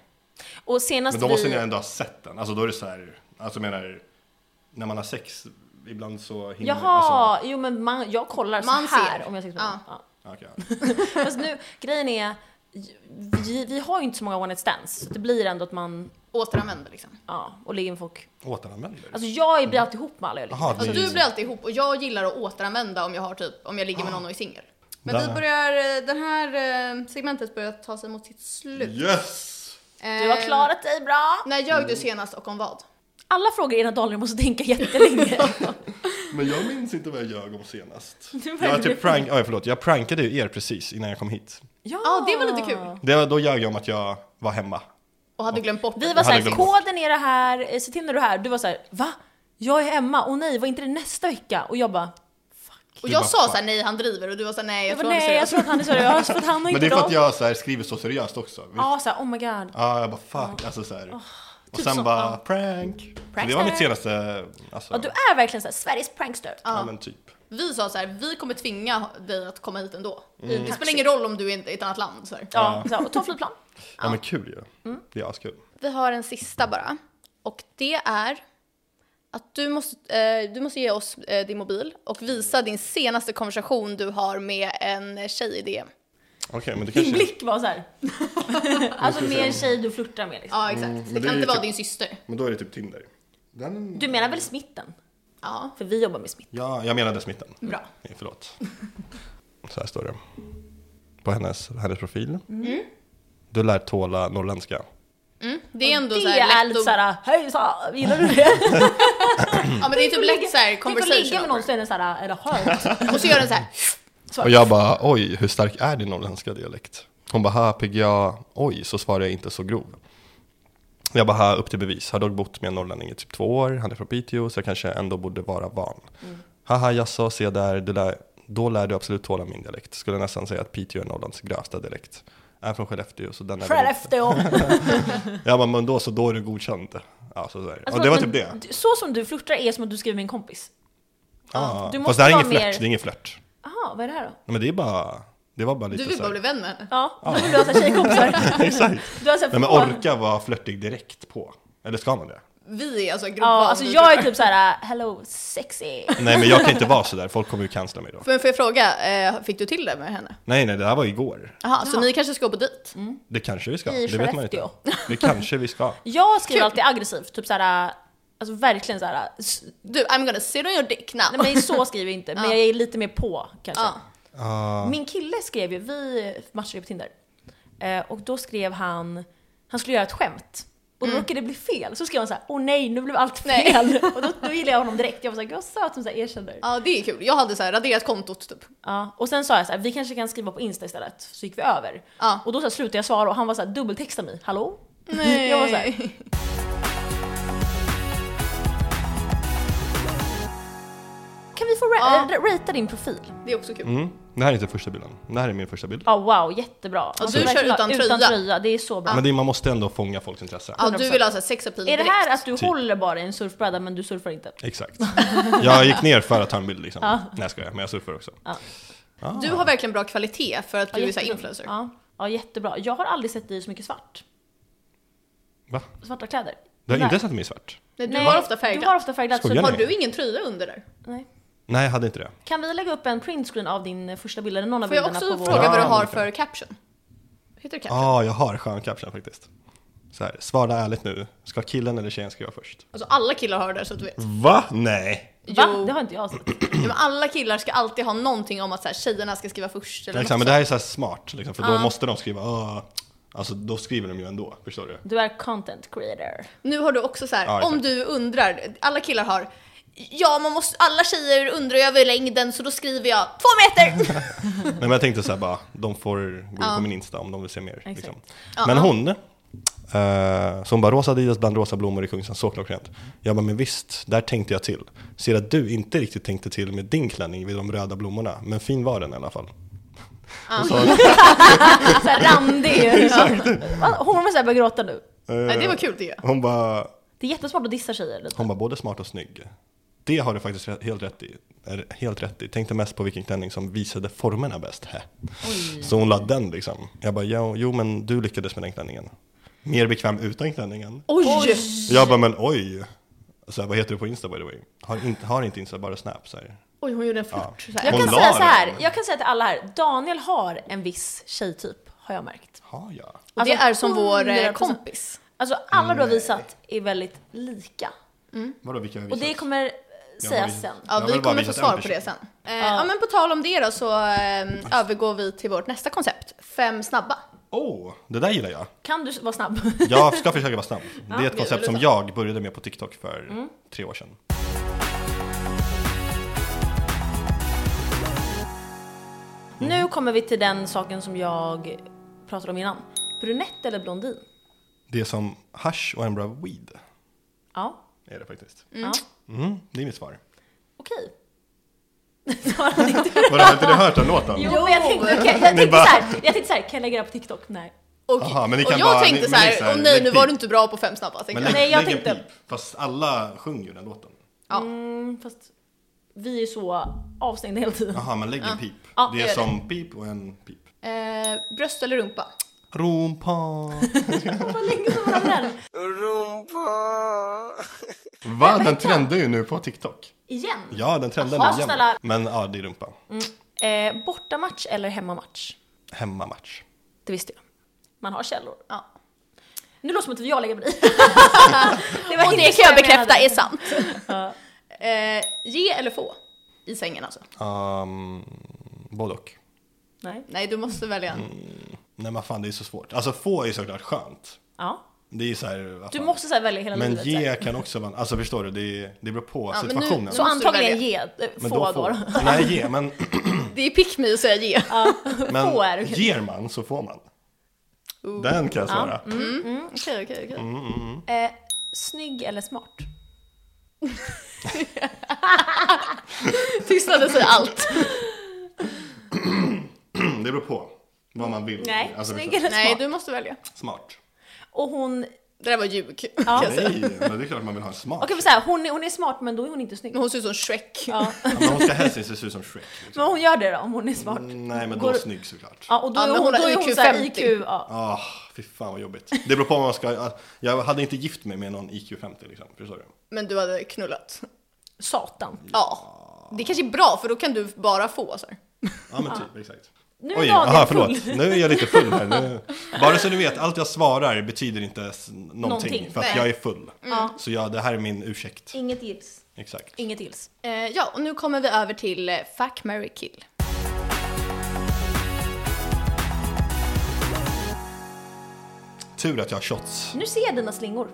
Speaker 2: Och senast
Speaker 1: Men då måste
Speaker 2: vi...
Speaker 1: ni ändå ha sett den. Alltså då är det så här, alltså jag menar, när man har sex, ibland så hinner
Speaker 2: Jaha,
Speaker 1: Alltså,
Speaker 2: jo men man, jag kollar
Speaker 3: Man
Speaker 2: så här
Speaker 3: ser.
Speaker 2: om jag sitter på
Speaker 3: Ja.
Speaker 2: ja.
Speaker 1: ja, okej.
Speaker 2: Fast nu, grejen är, vi, vi har ju inte så många one night stands, så det blir ändå att man,
Speaker 3: Återanvänder liksom.
Speaker 2: ja, och ligger med folk.
Speaker 1: Återanvänder?
Speaker 2: Alltså jag blir alltid ihop med alla jag liksom. ligger
Speaker 1: Jaha,
Speaker 2: med.
Speaker 3: Alltså,
Speaker 1: ni- liksom-
Speaker 3: du blir alltid ihop och jag gillar att återanvända om jag, har typ, om jag ligger
Speaker 1: Ah.
Speaker 3: med någon och är singel. Men
Speaker 1: Där.
Speaker 3: vi börjar, eh, den här eh, segmentet börjar ta sig mot sitt slut.
Speaker 1: Yes!
Speaker 2: Du har
Speaker 3: Eh,
Speaker 2: klarat dig bra!
Speaker 3: När ljög
Speaker 1: Mm.
Speaker 3: du senast och om vad?
Speaker 2: Alla frågor är när Daniel måste tänka jättelänge.
Speaker 1: Men jag minns inte vad jag ljög om senast.
Speaker 2: Du
Speaker 1: Jag,
Speaker 2: började-
Speaker 1: typ prank, oj, förlåt, jag prankade ju er precis innan jag kom hit.
Speaker 2: ja,
Speaker 3: Ja, det var lite kul.
Speaker 2: Oh
Speaker 1: Det var, då ljög jag om att jag var hemma.
Speaker 3: Och hade glömt bort
Speaker 2: Vi
Speaker 3: det.
Speaker 2: var
Speaker 1: hade
Speaker 2: såhär,
Speaker 1: glömt bort.
Speaker 2: koden är det här, eh, se till när du är här. Du var såhär, va? Jag är hemma, och nej, var inte det nästa vecka? Och jag bara,
Speaker 3: Och
Speaker 1: Du
Speaker 3: jag
Speaker 1: bara,
Speaker 3: sa
Speaker 1: "Fuck."
Speaker 3: såhär, nej han driver och du var såhär, nej
Speaker 2: jag
Speaker 3: jag
Speaker 2: bara
Speaker 3: tror han är
Speaker 2: nej, jag
Speaker 3: seriös.
Speaker 2: tror att han är seriös, för att han har
Speaker 1: Men
Speaker 2: inte
Speaker 1: det är för att
Speaker 2: dem.
Speaker 1: jag så här, skriver så seriöst också. Ja,
Speaker 2: Ja, såhär, oh my god.
Speaker 1: ah, jag bara fuck, alltså så här. och
Speaker 2: typ
Speaker 1: sen
Speaker 2: sånt,
Speaker 1: bara
Speaker 2: ja.
Speaker 1: prank. Så det
Speaker 2: Prankster.
Speaker 1: var mitt senaste, alltså,
Speaker 2: Ja, du ah. är verkligen såhär, Sveriges prankster.
Speaker 1: ja men typ.
Speaker 3: Vi sa såhär, vi kommer tvinga dig att komma hit ändå.
Speaker 1: Mm.
Speaker 3: Det spelar ingen roll om du är i ett annat land. Så här.
Speaker 2: Ja, så här, och ta flygplan.
Speaker 1: Ja,
Speaker 2: Ah.
Speaker 1: men kul ju.
Speaker 2: Mm.
Speaker 1: Det är askul.
Speaker 3: Vi har en sista bara. Och det är att du måste, eh, du måste ge oss eh, din mobil och visa din senaste konversation du har med en tjej i DM.
Speaker 1: Okej, men det
Speaker 2: Din
Speaker 1: kanske...
Speaker 2: blick var såhär. alltså med en tjej du flörtar med liksom.
Speaker 3: Ja, exakt.
Speaker 1: men
Speaker 3: det
Speaker 1: det
Speaker 3: kan
Speaker 1: är
Speaker 3: inte
Speaker 1: ju
Speaker 3: vara
Speaker 1: typ-
Speaker 3: din syster.
Speaker 1: Men då är det typ Tinder. Den...
Speaker 2: Du menar väl smitten?
Speaker 3: Ja,
Speaker 2: För vi jobbar med smitten.
Speaker 1: Ja, jag menade smitten.
Speaker 2: Mm.
Speaker 3: bra.
Speaker 1: Nej, förlåt. Så här står det. På hennes, hennes profil. Du lär tåla norrländska.
Speaker 3: Det är ändå
Speaker 2: det
Speaker 3: så här
Speaker 2: är
Speaker 3: lätt
Speaker 2: lite
Speaker 3: att...
Speaker 2: såhär, hej sa, gillar du det?
Speaker 3: ja, men det är typ lätt så här
Speaker 2: Mm. Tänk att ligga med
Speaker 3: conversation.
Speaker 2: någon så är det såhär, är det skönt?
Speaker 3: Och så gör den så här.
Speaker 1: Och jag bara, oj, hur stark är din norrländska dialekt? Hon bara, här PGA, oj, så svarar jag inte så grov. Jag bara, här upp till bevis. Har dock bott med en norrlänning i typ två år, han är från Piteå, så jag kanske ändå borde vara van.
Speaker 2: Mm.
Speaker 1: Haha, jaså, se där, du lär, då lär du absolut tåla min dialekt. Skulle nästan säga att Piteå är Norrlands grövsta dialekt. Är från Skellefteå, så den är väl inte-
Speaker 2: Skellefteå.
Speaker 1: Jag bara, men då så, då är du godkänd. Ja, så där.
Speaker 2: Alltså,
Speaker 1: och det var
Speaker 2: men
Speaker 1: typ det.
Speaker 2: du- Så som du flörtar är som att du skriver med en kompis.
Speaker 1: Ah,
Speaker 2: du måste
Speaker 1: fast det här är
Speaker 2: vara
Speaker 1: ingen flört,
Speaker 2: mer-
Speaker 1: det är ingen flört.
Speaker 2: Jaha, vad är det här då?
Speaker 1: Men det är bara, det var bara lite
Speaker 3: Du vill
Speaker 1: så
Speaker 3: bara
Speaker 1: här.
Speaker 3: bli vän med henne.
Speaker 2: Ja, då vill du ha såhär tjejkompisar.
Speaker 1: Exakt.
Speaker 2: Du har såhär,
Speaker 1: Nej men
Speaker 2: få-
Speaker 1: orka vara flörtig direkt på. Eller ska man det?
Speaker 3: Vi är alltså grova.
Speaker 2: Ja, alltså jag är typ såhär, hello sexy.
Speaker 1: Nej men jag kan inte vara sådär, folk kommer ju cancella
Speaker 2: typ-
Speaker 1: mig då.
Speaker 3: Men får jag fråga, eh, fick du till det med henne?
Speaker 1: Nej nej, det här var igår.
Speaker 3: Jaha, så ni kanske ska gå på dit?
Speaker 2: Mm.
Speaker 1: Det kanske vi ska,
Speaker 2: I
Speaker 1: det vet man inte.
Speaker 2: Skellefteå.
Speaker 1: Det kanske vi ska.
Speaker 2: Jag skriver alltid aggressivt, typ såhär, alltså verkligen såhär, s-
Speaker 3: Du, I'm gonna sit on your dick now.
Speaker 2: nej men så skriver jag inte, men jag är lite mer på kanske.
Speaker 3: Ja.
Speaker 1: Ah,
Speaker 2: Min kille skrev ju, vi matchade ju på Tinder. Eh, och då skrev han, han skulle göra ett skämt. Och då råkade det bli fel. Så skrev han så här: åh nej, nu blev allt
Speaker 3: Mm. Nej.
Speaker 2: fel. och då, då gillade jag honom direkt. Jag var såhär, gud vad söt som så här erkänner.
Speaker 3: Ja, det är kul. Jag hade så här raderat kontot typ.
Speaker 2: Ja. Och sen sa jag så här, vi kanske kan skriva på Insta istället. Så gick vi över.
Speaker 3: Ja.
Speaker 2: Och då så här, slutade jag svara och han var såhär, dubbeltexta mig, hallå?
Speaker 3: Nej.
Speaker 2: Jag var så här, kan vi få ra-
Speaker 3: Ja.
Speaker 2: äh, ratea din profil?
Speaker 3: Det är också kul.
Speaker 1: mm. Det här är inte första bilden, det här är min första bild.
Speaker 2: Ja wow, jättebra. Alltså,
Speaker 3: du kör
Speaker 2: verkligen,
Speaker 3: utan
Speaker 2: Utan
Speaker 3: tröja.
Speaker 2: tröja, det är så bra.
Speaker 1: Men det, man måste ändå fånga folks intresse.
Speaker 3: Ja, du vill ha så här sex appeal
Speaker 2: är det
Speaker 3: direkt.
Speaker 2: här att du
Speaker 1: Typ.
Speaker 2: håller bara i en surfbräda men du surfar inte?
Speaker 1: Exakt. Jag gick ner för att ta en bild liksom. Nej jag skojar, men jag surfar också.
Speaker 3: Du har verkligen bra kvalitet för att du är så här
Speaker 2: jättefin.
Speaker 3: influencer.
Speaker 2: Ja. ja, jättebra. Jag har aldrig sett dig i så mycket svart.
Speaker 1: Va?
Speaker 2: Svarta kläder.
Speaker 1: Du har
Speaker 2: Nej.
Speaker 1: inte sett mig i svart?
Speaker 3: Nej, du
Speaker 2: Nej,
Speaker 3: har ofta
Speaker 2: Du har
Speaker 3: färgglatt.
Speaker 2: ofta färgglatt.
Speaker 1: Skojar
Speaker 2: så
Speaker 1: ni?
Speaker 2: du
Speaker 3: Har du ingen tröja under där?
Speaker 2: har... Nej.
Speaker 1: Nej jag hade inte det.
Speaker 2: Kan vi lägga upp en printscreen av din första bild eller någon av
Speaker 3: Får jag
Speaker 2: bilderna
Speaker 3: också
Speaker 2: på
Speaker 3: fråga
Speaker 1: Ja,
Speaker 3: vad du har
Speaker 1: men det kan
Speaker 3: för caption? Heter det
Speaker 1: Ja,
Speaker 3: caption?
Speaker 1: Ah, jag har skön caption faktiskt. Så här, svara ärligt nu. Ska killen eller tjejen skriva först?
Speaker 3: Alltså alla killar har det där så att du vet.
Speaker 1: Va? Nej.
Speaker 2: Va?
Speaker 3: Jo.
Speaker 2: Det har inte jag sett.
Speaker 3: Ja, men alla killar ska alltid ha någonting om att så här, tjejerna ska skriva först eller
Speaker 1: Exakt, men
Speaker 3: något
Speaker 1: det här är så här smart, liksom, för då måste de skriva "Åh." Alltså då skriver de ju ändå, förstår du?
Speaker 2: Du är content creator.
Speaker 3: sånt. Nu har du också så här,
Speaker 1: Ja, exakt.
Speaker 3: om du undrar, alla killar har Ja, man måste, alla tjejer undrar ju över längden så då skriver jag två meter!
Speaker 1: Nej, men jag tänkte så här bara, de får gå in på min Insta om de vill se mer. Liksom.
Speaker 3: Ja,
Speaker 1: Men
Speaker 3: ja.
Speaker 1: hon, eh, så hon bara rosa Adidas bland rosa blommor i Kungsan, så klockrent. Jag bara, men visst, där tänkte jag till. Ser att du inte riktigt tänkte till med din klänning vid de röda blommorna, men fin var den i alla fall. Hon sa,
Speaker 2: Såhär Alltså, randig. Va? Hon var såhär, börjar gråta nu.
Speaker 3: Nej, det var kul tycker jag.
Speaker 1: hon bara,
Speaker 2: Det är jättesmart att dissa tjejer lite.
Speaker 1: Hon var både smart och snygg. Det har du faktiskt re- helt rätt i. Är Helt rätt i. Tänkte mest på vilken klänning som visade formerna bäst. Hä. Så hon la den liksom. Jag bara, jo, jo men du lyckades med den klänningen. Mer bekväm utan klänningen.
Speaker 3: Oj!
Speaker 1: Jag bara, men oj. Så här, vad heter du på Insta by the way? Har inte, har inte Insta, bara Snap. Så här.
Speaker 3: Oj, hon gjorde en flört.
Speaker 1: Ja.
Speaker 3: Så här.
Speaker 2: Jag
Speaker 1: Hon
Speaker 2: kan
Speaker 1: la
Speaker 2: säga så
Speaker 1: den.
Speaker 2: här. jag kan säga till alla här, Daniel har en viss tjejtyp, har jag märkt.
Speaker 1: Har jag?
Speaker 3: Och det
Speaker 2: Alltså,
Speaker 3: är som vår eh,
Speaker 2: 100%.
Speaker 3: kompis.
Speaker 2: Alltså alla
Speaker 1: Mm,
Speaker 2: du har visat är väldigt lika.
Speaker 1: Vadå, vilka har jag
Speaker 2: Och det
Speaker 1: visat?
Speaker 2: kommer eh,
Speaker 1: har
Speaker 2: sägas
Speaker 1: ju-
Speaker 2: sen.
Speaker 3: Ja,
Speaker 1: Jag
Speaker 3: vi
Speaker 1: vill bara
Speaker 3: kommer få
Speaker 1: visa
Speaker 3: svar
Speaker 1: en
Speaker 3: på det sen.
Speaker 1: person.
Speaker 3: Eh, ja. men på tal om det då så eh, övergår vi till vårt nästa koncept, fem snabba.
Speaker 1: Åh, det där gillar jag.
Speaker 2: Kan du vara snabb?
Speaker 1: Jag ska försöka vara snabb. Det är
Speaker 3: det
Speaker 1: ett koncept
Speaker 3: är
Speaker 1: som
Speaker 3: sant.
Speaker 1: jag började med på TikTok för
Speaker 2: Mm.
Speaker 1: tre år sedan. Mm.
Speaker 2: Nu kommer vi till den saken som jag pratade om innan. Brunett eller blondin?
Speaker 1: Det är som hash och en bra weed.
Speaker 2: Ja.
Speaker 1: Är det faktiskt.
Speaker 2: ja.
Speaker 1: Mm, det är mitt svar.
Speaker 2: Okej. Svarade inte.
Speaker 1: Vadå, har inte ni hört den låten?
Speaker 2: Jo, men jag tänkte, jag, jag tänkte
Speaker 1: bara-
Speaker 2: såhär, jag tänkte såhär, kan jag lägga det på TikTok? Nej.
Speaker 3: Och,
Speaker 1: Aha, men ni kan
Speaker 3: och jag
Speaker 1: bara-
Speaker 3: tänkte
Speaker 1: men
Speaker 3: så här,
Speaker 1: lägg så här,
Speaker 3: åh nej
Speaker 1: lägg
Speaker 3: nu var
Speaker 1: pip."
Speaker 3: du inte bra på fem snabba. tänkte
Speaker 1: Men
Speaker 3: jag.
Speaker 1: lägg,
Speaker 2: Nej, jag
Speaker 1: lägg en
Speaker 2: tänkte-
Speaker 1: pip. Fast alla sjöng ju den låten.
Speaker 2: Mm, fast vi är så avstängda hela tiden.
Speaker 1: Jaha, men lägg en pip.
Speaker 2: Ja,
Speaker 1: det
Speaker 2: jag
Speaker 1: är
Speaker 2: gör
Speaker 1: som pip och en pip.
Speaker 3: Eh, bröst eller rumpa?
Speaker 1: Rumpa.
Speaker 2: Vad länge sedan var det den?
Speaker 1: Va? Den trendar ju nu på TikTok.
Speaker 2: Igen?
Speaker 1: Ja, den trendar
Speaker 2: Jaha,
Speaker 1: nu igen.
Speaker 2: snälla.
Speaker 1: Men ja, det är rumpa.
Speaker 2: Eh, bortamatch eller hemmamatch?
Speaker 1: Hemmamatch.
Speaker 2: Det visste jag. Man har källor.
Speaker 3: Ja.
Speaker 2: Nu låter det som att jag lägger mig i. det
Speaker 3: Och
Speaker 2: var
Speaker 3: det
Speaker 2: inte
Speaker 3: kan jag
Speaker 2: menade.
Speaker 3: bekräfta är sant. eh, ge eller få? I sängen alltså.
Speaker 1: Um, både och.
Speaker 2: Nej.
Speaker 3: Nej du måste välja en.
Speaker 1: Mm. Nej men fan det är så svårt. Alltså få är ju såklart skönt.
Speaker 2: Ja.
Speaker 1: Det är ju såhär, vad
Speaker 2: Du
Speaker 1: fan.
Speaker 2: måste så här välja hela
Speaker 1: Men
Speaker 2: livet.
Speaker 1: ge kan också vara, alltså förstår du, det, är- det beror på
Speaker 3: Ja, men nu-
Speaker 1: situationen.
Speaker 2: så
Speaker 3: måste
Speaker 2: här.
Speaker 3: du
Speaker 2: så antagligen
Speaker 3: välja.
Speaker 2: ge, eh,
Speaker 1: Men
Speaker 2: få då.
Speaker 1: får- Nej ge, men,
Speaker 3: Det är pick me att säga ge.
Speaker 1: men
Speaker 2: Få är okej.
Speaker 1: ger man så får man. Den kan jag svara.
Speaker 3: Mm, Okej okej okej.
Speaker 2: Eh, snygg eller smart?
Speaker 3: Tystnaden säger allt.
Speaker 1: Mm, Det beror på vad man vill.
Speaker 2: Nej,
Speaker 1: alltså,
Speaker 2: snygg
Speaker 1: förstår
Speaker 2: eller
Speaker 3: Nej
Speaker 2: smart?
Speaker 3: du måste välja.
Speaker 1: du? Smart.
Speaker 2: Och hon,
Speaker 3: Det där var ljug. kan jag säga.
Speaker 1: Nej, men det är klart man vill ha en smart.
Speaker 2: okej men så här, hon, är, hon är smart men då är hon inte snygg.
Speaker 3: Men hon ser ut som Shrek. Ja,
Speaker 2: Ja.
Speaker 1: Ja, men hon ska helst inte se ut som Shrek. Liksom.
Speaker 2: Men hon gör det då om hon är smart.
Speaker 1: Mm, Nej men då
Speaker 2: Går-
Speaker 1: snygg såklart.
Speaker 2: Ja, och då
Speaker 3: Ja,
Speaker 2: är
Speaker 3: men
Speaker 2: hon,
Speaker 3: hon har
Speaker 2: då är
Speaker 3: IQ
Speaker 2: hon så här
Speaker 3: 50.
Speaker 2: IQ. Ja.
Speaker 1: Ah, fy fan vad jobbigt. Det beror på vad man ska, ah, jag hade inte gift mig med någon IQ 50 liksom, förstår du?
Speaker 3: Men du hade knullat.
Speaker 2: Satan.
Speaker 3: Ja. Det kanske är bra för då kan du bara få så här.
Speaker 1: Ja men typ, exakt.
Speaker 2: Nu är
Speaker 1: Oj,
Speaker 2: Daniel
Speaker 1: aha, förlåt.
Speaker 2: full.
Speaker 1: Nu är jag lite full här. Nu. Bara så ni vet, allt jag svarar betyder inte s- någonting,
Speaker 2: Någonting,
Speaker 1: för att
Speaker 3: nej.
Speaker 1: jag är full.
Speaker 2: Ja.
Speaker 1: Så ja, det här är min ursäkt.
Speaker 2: Inget gills.
Speaker 1: Exakt.
Speaker 2: Inget gills.
Speaker 3: Eh, ja, och nu kommer vi över till eh, Fuck, marry, kill.
Speaker 1: Tur att jag har shots.
Speaker 2: Nu ser jag dina slingor.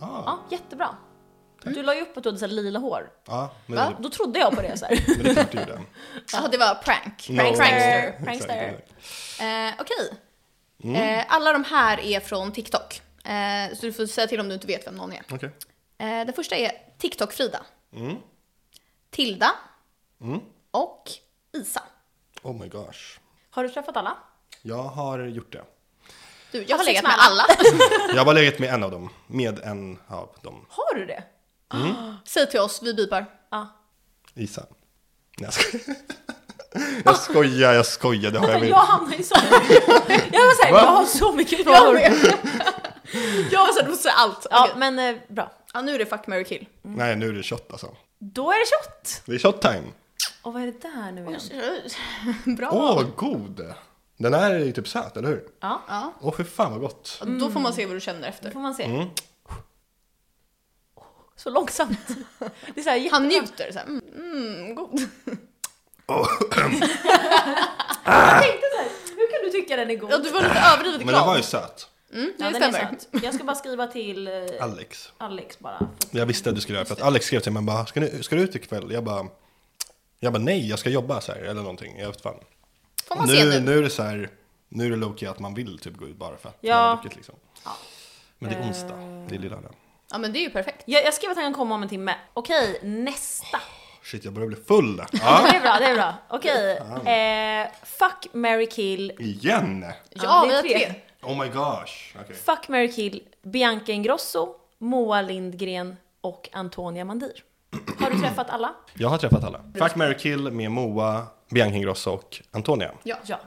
Speaker 1: Ah,
Speaker 2: Ja, jättebra. Du la ju upp att du hade så här lila hår.
Speaker 1: ja, men,
Speaker 3: Va?
Speaker 1: det,
Speaker 2: Då trodde jag på det så här.
Speaker 1: men det är klart du gjorde.
Speaker 3: Ja, det var prank.
Speaker 1: No.
Speaker 3: Prankster.
Speaker 1: Exakt,
Speaker 2: prankster.
Speaker 1: exakt.
Speaker 3: Eh, Okej. Eh, alla de här är från TikTok. Eh, så du får säga till om du inte vet vem någon är.
Speaker 1: Okej.
Speaker 3: Eh, den första är TikTok-Frida. Tilda. Och Isa.
Speaker 1: Oh my gosh.
Speaker 2: Har du träffat alla?
Speaker 1: Jag har gjort det.
Speaker 3: Du, jag har
Speaker 2: Sex
Speaker 3: legat
Speaker 2: med
Speaker 3: med alla.
Speaker 1: Jag har bara legat med en av dem. Med en av dem.
Speaker 2: Har du det?
Speaker 3: Säg till oss, vi bipar.
Speaker 2: Ja.
Speaker 1: Isa. Nej, jag skojar. Jag skojar, jag skojar. Det har jag
Speaker 2: Jag,
Speaker 1: med.
Speaker 2: hamnar i så Jag var såhär,
Speaker 1: Va?
Speaker 2: jag har så mycket
Speaker 3: Jag
Speaker 2: frågor.
Speaker 3: med. jag var såhär, du måste säga allt.
Speaker 2: Ja,
Speaker 3: Okej.
Speaker 2: men eh, bra.
Speaker 3: Ja, nu är det fuck, marry, kill.
Speaker 1: Nej, nu är det shot alltså.
Speaker 2: Då är det shot!
Speaker 1: Det är shot time.
Speaker 2: Och vad är det där nu igen?
Speaker 3: Bra.
Speaker 1: Åh, vad god! Den här är ju typ söt, eller hur?
Speaker 2: Ja,
Speaker 3: Ja.
Speaker 1: Åh, fy fan vad gott.
Speaker 3: Då får man se vad du känner efter.
Speaker 2: då får man se.
Speaker 1: Mm.
Speaker 2: Så långsamt. Det är så här, jätte-
Speaker 3: Han njuter såhär, mm, mm, god.
Speaker 2: jag tänkte såhär, hur kan du tycka den är god?
Speaker 3: Ja, du var lite överdrivet
Speaker 1: Men den
Speaker 3: glad.
Speaker 1: var ju söt.
Speaker 3: Mm, det
Speaker 2: Ja, den är
Speaker 3: stämmer.
Speaker 2: söt. Jag ska bara skriva till eh,
Speaker 1: Alex.
Speaker 2: Alex bara.
Speaker 1: Jag visste att du skulle göra det, för att Alex skrev till mig bara, ska du, ska du ut ikväll? Jag bara, jag bara nej, jag ska jobba så här eller någonting. Jag vet fan.
Speaker 3: Får man se
Speaker 1: Nu,
Speaker 3: nu?
Speaker 1: nu är det så här, nu är det Loki att man vill typ gå ut bara för att
Speaker 2: Ja.
Speaker 1: man har druckit liksom. Men det är onsdag, det är lilla lördag.
Speaker 3: Ja men det är ju perfekt.
Speaker 2: Jag, jag skrev att han kan komma om en timme. Okej, nästa.
Speaker 1: Shit, jag börjar bli full.
Speaker 2: Det
Speaker 1: Ja,
Speaker 2: är bra, det är bra. Okej. Eh, fuck, Mary kill.
Speaker 1: igen!
Speaker 3: Ja,
Speaker 2: det
Speaker 3: vi
Speaker 2: är
Speaker 3: har
Speaker 2: tre.
Speaker 3: tre.
Speaker 1: Oh my gosh. Okej.
Speaker 2: Fuck, Mary kill. Bianca Ingrosso, Moa Lindgren och Antonia Mandir. Har du träffat alla?
Speaker 1: Jag har träffat alla. Fuck, marry, kill med Moa, Bianca Ingrosso och Antonia.
Speaker 3: Ja.
Speaker 2: Ja.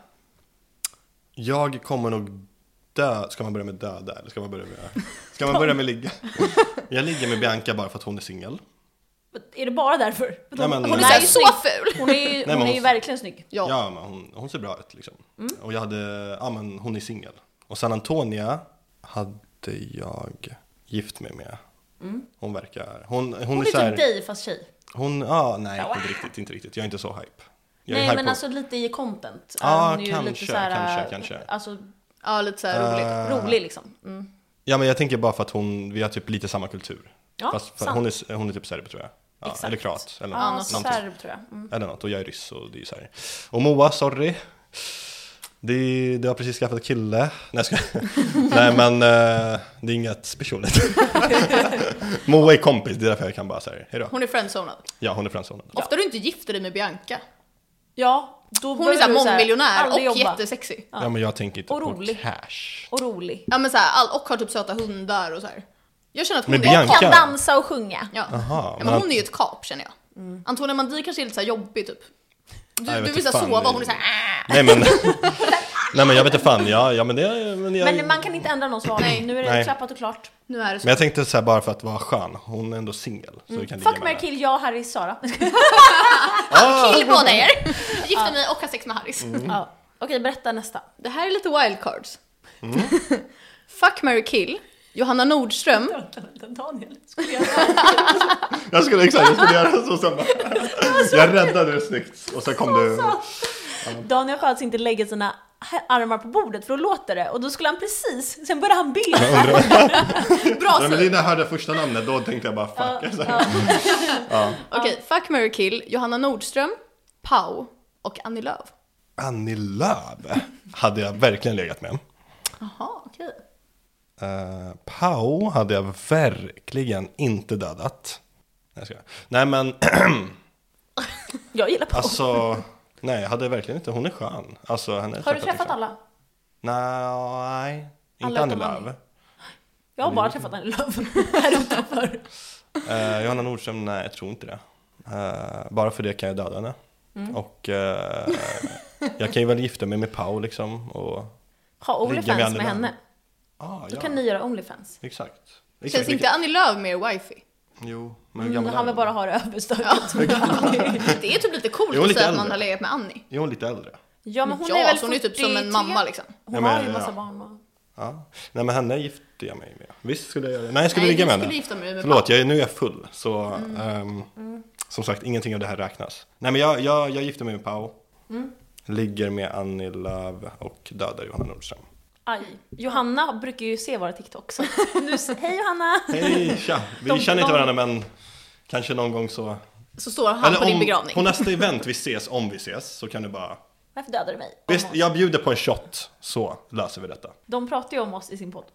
Speaker 1: Jag kommer nog dö. Ska man börja med döda eller ska man börja med... Ska man börja med ligga? Jag ligger med Bianca bara för att hon är singel.
Speaker 2: Är det bara därför?
Speaker 1: Nej, men-
Speaker 2: hon,
Speaker 3: Hon
Speaker 2: är
Speaker 1: Nej.
Speaker 3: är
Speaker 2: så här
Speaker 3: såhär,
Speaker 2: snygg.
Speaker 3: så ful!
Speaker 2: Hon är ju,
Speaker 1: men
Speaker 2: hon är ju
Speaker 1: hon-
Speaker 2: verkligen snygg.
Speaker 1: Ja,
Speaker 3: Ja.
Speaker 1: men hon, hon ser bra ut liksom.
Speaker 2: Mm.
Speaker 1: Och jag hade, ja men hon är singel. Och San Antonia hade jag gift mig med. Hon verkar, hon, hon,
Speaker 2: Mm. Hon
Speaker 1: är,
Speaker 2: är
Speaker 1: så här,
Speaker 2: typ dig fast tjej.
Speaker 1: Hon, ja nej inte riktigt, inte riktigt. Jag är inte så hype. Jag är
Speaker 2: Nej
Speaker 1: hype
Speaker 2: men
Speaker 1: på-
Speaker 2: alltså lite i content.
Speaker 1: Ja,
Speaker 2: Hon är ju lite
Speaker 1: kanske,
Speaker 2: så här,
Speaker 1: kanske, kanske.
Speaker 2: Alltså
Speaker 3: Ja, lite såhär
Speaker 1: Eh.
Speaker 3: roligt.
Speaker 2: rolig liksom. Mm.
Speaker 1: Ja men jag tänker bara för att hon, vi har typ lite samma kultur.
Speaker 2: Ja,
Speaker 1: Fast för,
Speaker 2: sant.
Speaker 1: hon, är, s- hon är typ serb tror jag. Ja,
Speaker 2: Exakt.
Speaker 1: eller kroat. Eller
Speaker 2: Ja,
Speaker 1: något, någonting.
Speaker 2: serb tror jag. Mm.
Speaker 1: Eller något, och jag är ryss och det är ju så här. Och Moa, sorry. Det, du har precis skaffat kille. Nej, jag skojar. Nej men eh, det är inget speciellt. Moa är kompis, det är därför jag kan bara säga hejdå.
Speaker 3: Hon är friendzonad.
Speaker 1: Ja, hon är friendzonad.
Speaker 3: Ofta du inte gifter dig med Bianca.
Speaker 2: Ja, då
Speaker 3: Hon är såhär
Speaker 2: behöver du så här
Speaker 3: mångmiljonär
Speaker 2: aldrig
Speaker 3: och
Speaker 2: jobba.
Speaker 3: jättesexy.
Speaker 1: Ja. men jag tänker inte
Speaker 2: Och
Speaker 1: på
Speaker 2: rolig.
Speaker 1: cash.
Speaker 2: Och rolig.
Speaker 3: Ja men såhär, all- och har typ söta hundar och såhär. Jag känner att hon
Speaker 1: Men
Speaker 3: är
Speaker 1: Bianca-
Speaker 3: ett
Speaker 2: Kan
Speaker 1: Kan.
Speaker 3: kap.
Speaker 2: dansa och sjunga.
Speaker 3: Ja.
Speaker 1: Aha,
Speaker 3: ja, men
Speaker 1: men-
Speaker 3: hon är ju ett kap känner jag. Antonia Mandi kanske är lite såhär jobbig typ. Du,
Speaker 1: jag
Speaker 3: du
Speaker 1: vet
Speaker 3: vill
Speaker 1: inte
Speaker 3: såhär
Speaker 1: fan.
Speaker 3: sova och hon är såhär
Speaker 1: Nej
Speaker 3: äh.
Speaker 1: men, nej men jag vet inte fan, ja, ja men det, men jag,
Speaker 2: Men man kan inte ändra någons val.
Speaker 3: Nej.
Speaker 2: Nu är det
Speaker 1: Nej.
Speaker 2: klappat och klart.
Speaker 3: Nu är det så.
Speaker 1: men jag tänkte så här bara för att vara skön, hon är ändå singel. så vi kan ligga med
Speaker 2: Fuck, marry,
Speaker 1: det.
Speaker 2: kill, jag, Harry, Sara.
Speaker 1: Mm.
Speaker 3: Kill båda er! Gifter mig och har sex med Harris.
Speaker 2: ja. Okej, berätta nästa.
Speaker 3: Mm. Det här är lite wildcards.
Speaker 1: Mm.
Speaker 3: Fuck, marry, kill. Johanna Nordström.
Speaker 2: Daniel, skulle jag
Speaker 1: Jag skulle exakt, jag skulle göra så sen bara. Jag räddade det snyggt och sen kom du.
Speaker 2: Daniel Sjöns inte lägger sina ha- armar på bordet för då låter det och då skulle han precis, sen började han be.
Speaker 3: Bra
Speaker 1: Nej, men
Speaker 3: syn.
Speaker 1: när jag hörde första namnet då tänkte jag bara fuck. alltså. Så här.
Speaker 3: Okej, fuck, marry, kill. Johanna Nordström, Pau och Annie Lööf.
Speaker 1: Annie Lööf hade jag verkligen legat med.
Speaker 3: Jaha, okej.
Speaker 1: Uh, Pau hade jag verkligen inte dödat. Nej, jag skojar. Nej men
Speaker 2: Jag gillar på.
Speaker 1: alltså, nej jag hade verkligen inte, hon är skön. Alltså, henne
Speaker 2: har du träffat
Speaker 1: liksom.
Speaker 2: alla?
Speaker 1: Nej,
Speaker 2: Alla
Speaker 1: inte Annie
Speaker 2: utom Annie.
Speaker 1: Lööf.
Speaker 2: Jag
Speaker 1: Mm.
Speaker 2: har bara träffat Annie Lööf här utanför.
Speaker 1: Eh, Johanna Nordström, nej jag tror inte det. Eh, bara för det kan jag döda henne.
Speaker 2: Mm.
Speaker 1: Och eh, jag kan ju väl gifta mig med Pau liksom. Och,
Speaker 2: Ha
Speaker 1: Ligga med
Speaker 2: Onlyfans
Speaker 1: Annie
Speaker 2: med
Speaker 1: Lööf.
Speaker 2: henne.
Speaker 1: ah,
Speaker 2: Då kan ni göra Onlyfans.
Speaker 1: Exakt.
Speaker 3: Känns
Speaker 1: Exakt,
Speaker 3: inte Annie Lööf mer wifey?
Speaker 1: Jo, men hur
Speaker 2: Mm,
Speaker 1: gammal är
Speaker 2: han vill
Speaker 1: hon?
Speaker 2: bara ha det överstökat.
Speaker 3: Det är typ lite coolt
Speaker 1: Jo,
Speaker 3: att
Speaker 1: lite
Speaker 3: säga att
Speaker 1: äldre.
Speaker 3: man har legat med Annie.
Speaker 1: Är hon lite äldre?
Speaker 2: Ja men hon
Speaker 3: ja,
Speaker 2: är väl
Speaker 3: så hon är typ som en
Speaker 2: 43?
Speaker 3: mamma liksom.
Speaker 2: Hon
Speaker 1: Ja, men,
Speaker 2: har ju massa
Speaker 1: ja.
Speaker 2: barn och...
Speaker 1: Ja. Nej men henne gifte jag mig med. Visst skulle jag göra det. Nej jag skulle
Speaker 3: Nej,
Speaker 1: ligga
Speaker 3: du
Speaker 1: med
Speaker 3: skulle
Speaker 1: henne.
Speaker 3: gifta mig med Mm.
Speaker 1: Förlåt,
Speaker 3: Pau.
Speaker 1: jag, är- nu är jag full. Så ehm, som sagt, ingenting av det här räknas. Nej men jag, jag, jag gifte mig med Pau.
Speaker 3: Mm.
Speaker 1: Ligger med Annie Lööf och dödar Johanna Nordström.
Speaker 2: Aj. Johanna brukar ju se våra TikToks. så Nu, s- hej Johanna!
Speaker 1: Hej, tja! Vi
Speaker 2: De-
Speaker 1: känner inte
Speaker 2: de-
Speaker 1: varandra men kanske någon gång så...
Speaker 3: Så står han på
Speaker 1: om,
Speaker 3: din begravning.
Speaker 1: på nästa event vi ses, om vi ses, så kan du bara...
Speaker 2: Varför dödar du mig?
Speaker 1: Visst, jag bjuder på en shot, så löser vi detta.
Speaker 2: De pratar ju om oss i sin podd.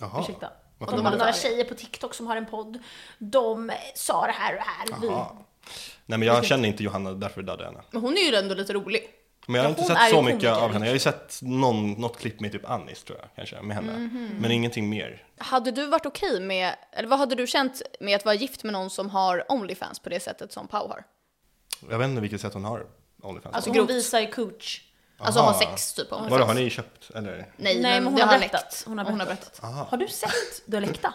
Speaker 1: Jaha.
Speaker 2: Ursäkta. Och
Speaker 1: varför
Speaker 2: de
Speaker 1: gjorde
Speaker 2: har
Speaker 1: du
Speaker 2: några
Speaker 3: det?
Speaker 2: tjejer på TikTok som har en podd. De eh, sa det här och det här. Vi.
Speaker 1: Jaha. Nej men jag känner inte Johanna, därför dödade jag henne.
Speaker 3: Men hon är ju ändå lite rolig.
Speaker 1: Men jag har inte
Speaker 2: hon är
Speaker 1: sett
Speaker 2: ju
Speaker 1: så mycket
Speaker 2: komiker.
Speaker 1: av henne. Jag har ju sett någon, något klipp med typ Anis tror jag, kanske, med henne. Men ingenting mer.
Speaker 3: Hade du varit okej med, eller vad hade du känt med att vara gift med någon som har Onlyfans på det sättet som Pau har?
Speaker 1: Jag vet inte vilket sätt hon har Onlyfans
Speaker 2: Alltså
Speaker 1: på.
Speaker 2: hon
Speaker 3: grovt.
Speaker 2: visar ju coach.
Speaker 3: Alltså
Speaker 1: Aha.
Speaker 3: har sex typ på Onlyfans?
Speaker 1: Vadå, har ni köpt eller?
Speaker 2: Nej
Speaker 3: Nej,
Speaker 2: men hon
Speaker 3: det
Speaker 2: har,
Speaker 3: har
Speaker 2: berättat.
Speaker 3: läckt.
Speaker 2: hon har berättat.
Speaker 3: Hon har berättat.
Speaker 2: Har du sett? Du har läckta.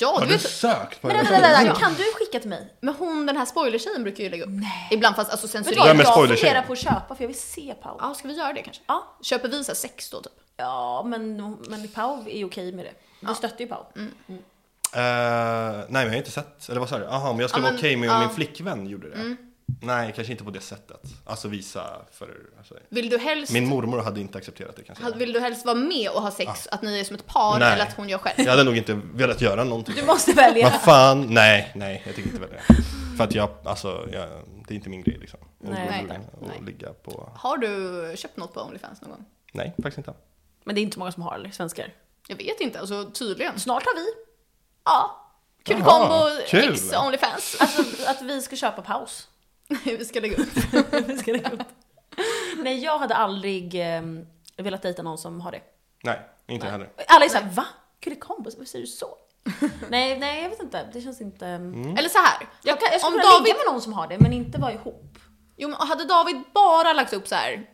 Speaker 3: Ja,
Speaker 1: Har
Speaker 3: du
Speaker 1: du
Speaker 3: vet.
Speaker 1: sökt på
Speaker 2: Men vänta,
Speaker 1: henne?
Speaker 2: vänta, vänta, kan du skicka till mig?
Speaker 3: Men hon, den här spoilertjejen brukar ju lägga upp. Nej. Ibland fast alltså
Speaker 2: Vet du vad,
Speaker 1: Vem är
Speaker 3: censurerad.
Speaker 2: jag
Speaker 1: spoiler-tjejen?
Speaker 2: funderar på att köpa för jag vill se Pau.
Speaker 3: Ja, ska vi göra det kanske?
Speaker 2: Ja,
Speaker 3: Köper vi så här sex då typ?
Speaker 2: ja men, men Pau är okej med det. Vi stöttar ju Pau.
Speaker 1: Eh, nej men jag har inte sett, eller vad sa du? Jaha, men jag skulle
Speaker 3: Ja,
Speaker 1: vara
Speaker 3: men-
Speaker 1: okej med om
Speaker 3: ja.
Speaker 1: min flickvän gjorde det. Nej, kanske inte på det sättet. Alltså visa för... Alltså,
Speaker 3: Vill du helst,
Speaker 1: min mormor hade inte accepterat det kanske.
Speaker 3: ha- vill du helst vara med och ha sex, att ni är som ett par
Speaker 1: Nej.
Speaker 3: eller att hon gör själv?
Speaker 1: Jag hade nog inte velat göra någonting.
Speaker 2: Du måste välja.
Speaker 1: Vad fan, nej, nej, jag tycker inte väl det. För att jag, alltså, jag, det är inte min grej liksom. Och,
Speaker 2: Nej.
Speaker 1: och,
Speaker 3: Nej.
Speaker 1: och, ligga på,
Speaker 3: Har du köpt något på Onlyfans någon gång?
Speaker 1: nej, faktiskt inte.
Speaker 2: Men det är inte många som har eller, svenskar.
Speaker 3: Jag vet inte, alltså tydligen.
Speaker 2: Snart har vi.
Speaker 3: Ja. Kul
Speaker 1: Jaha,
Speaker 3: kombo,
Speaker 1: kul.
Speaker 3: ex Onlyfans.
Speaker 2: Alltså att vi ska köpa paus.
Speaker 3: vi ska lägga upp.
Speaker 2: Vi ska lägga upp. Nej jag hade aldrig eh, velat dejta någon som har det.
Speaker 1: Nej, inte jag heller.
Speaker 2: Alla är såhär va? Kulikombo, varför säger du så? nej, nej jag vet inte. Det känns inte...
Speaker 1: Mm.
Speaker 3: Eller så här.
Speaker 2: Jag, kan, jag
Speaker 3: Om
Speaker 2: skulle kunna
Speaker 3: David-
Speaker 2: ligga med någon som har det men inte vara ihop.
Speaker 3: Jo, men hade David bara lagt upp så här.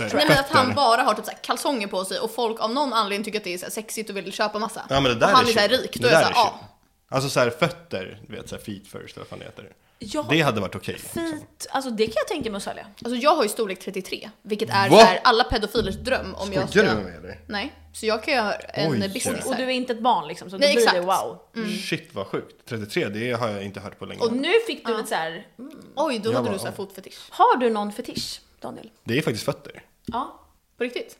Speaker 1: Nej.
Speaker 3: Nej
Speaker 2: trap.
Speaker 3: men att han
Speaker 1: Fötter.
Speaker 3: bara har typ så här kalsonger på sig och folk av någon anledning tycker att det är så här sexigt och vill köpa massa.
Speaker 1: Ja, men det
Speaker 3: Och
Speaker 1: där
Speaker 3: han är,
Speaker 1: är
Speaker 3: så här ah.
Speaker 1: chill.
Speaker 3: rik,
Speaker 1: Det
Speaker 3: då är jag
Speaker 1: där
Speaker 3: såhär, ja.
Speaker 1: chill. Alltså så här fötter, du vet så här feet first, vad fan det heter.
Speaker 2: Ja,
Speaker 1: Det hade varit okej.
Speaker 2: Fint, alltså det kan jag tänka mig att sälja.
Speaker 3: Alltså jag har ju storlek 33, vilket är
Speaker 1: Va?
Speaker 3: så här, alla pedofilers dröm om jag ska...
Speaker 1: Skojar du med mig eller?
Speaker 3: Nej, så jag kan göra en
Speaker 1: Oj.
Speaker 3: business
Speaker 2: Och du är
Speaker 3: här.
Speaker 2: inte ett barn liksom så då
Speaker 3: Nej,
Speaker 2: blir det
Speaker 3: exakt.
Speaker 2: wow.
Speaker 3: Mm.
Speaker 1: Shit vad sjukt. 33, det har jag inte hört på länge.
Speaker 2: Och nu fick du ett så här. mm.
Speaker 3: Oj, då
Speaker 1: Jag
Speaker 3: hade
Speaker 1: bara,
Speaker 3: du så här
Speaker 1: ja.
Speaker 3: fotfetisch.
Speaker 2: har du någon fetisch Daniel?
Speaker 1: Det är faktiskt fötter.
Speaker 2: Ja.
Speaker 3: På riktigt?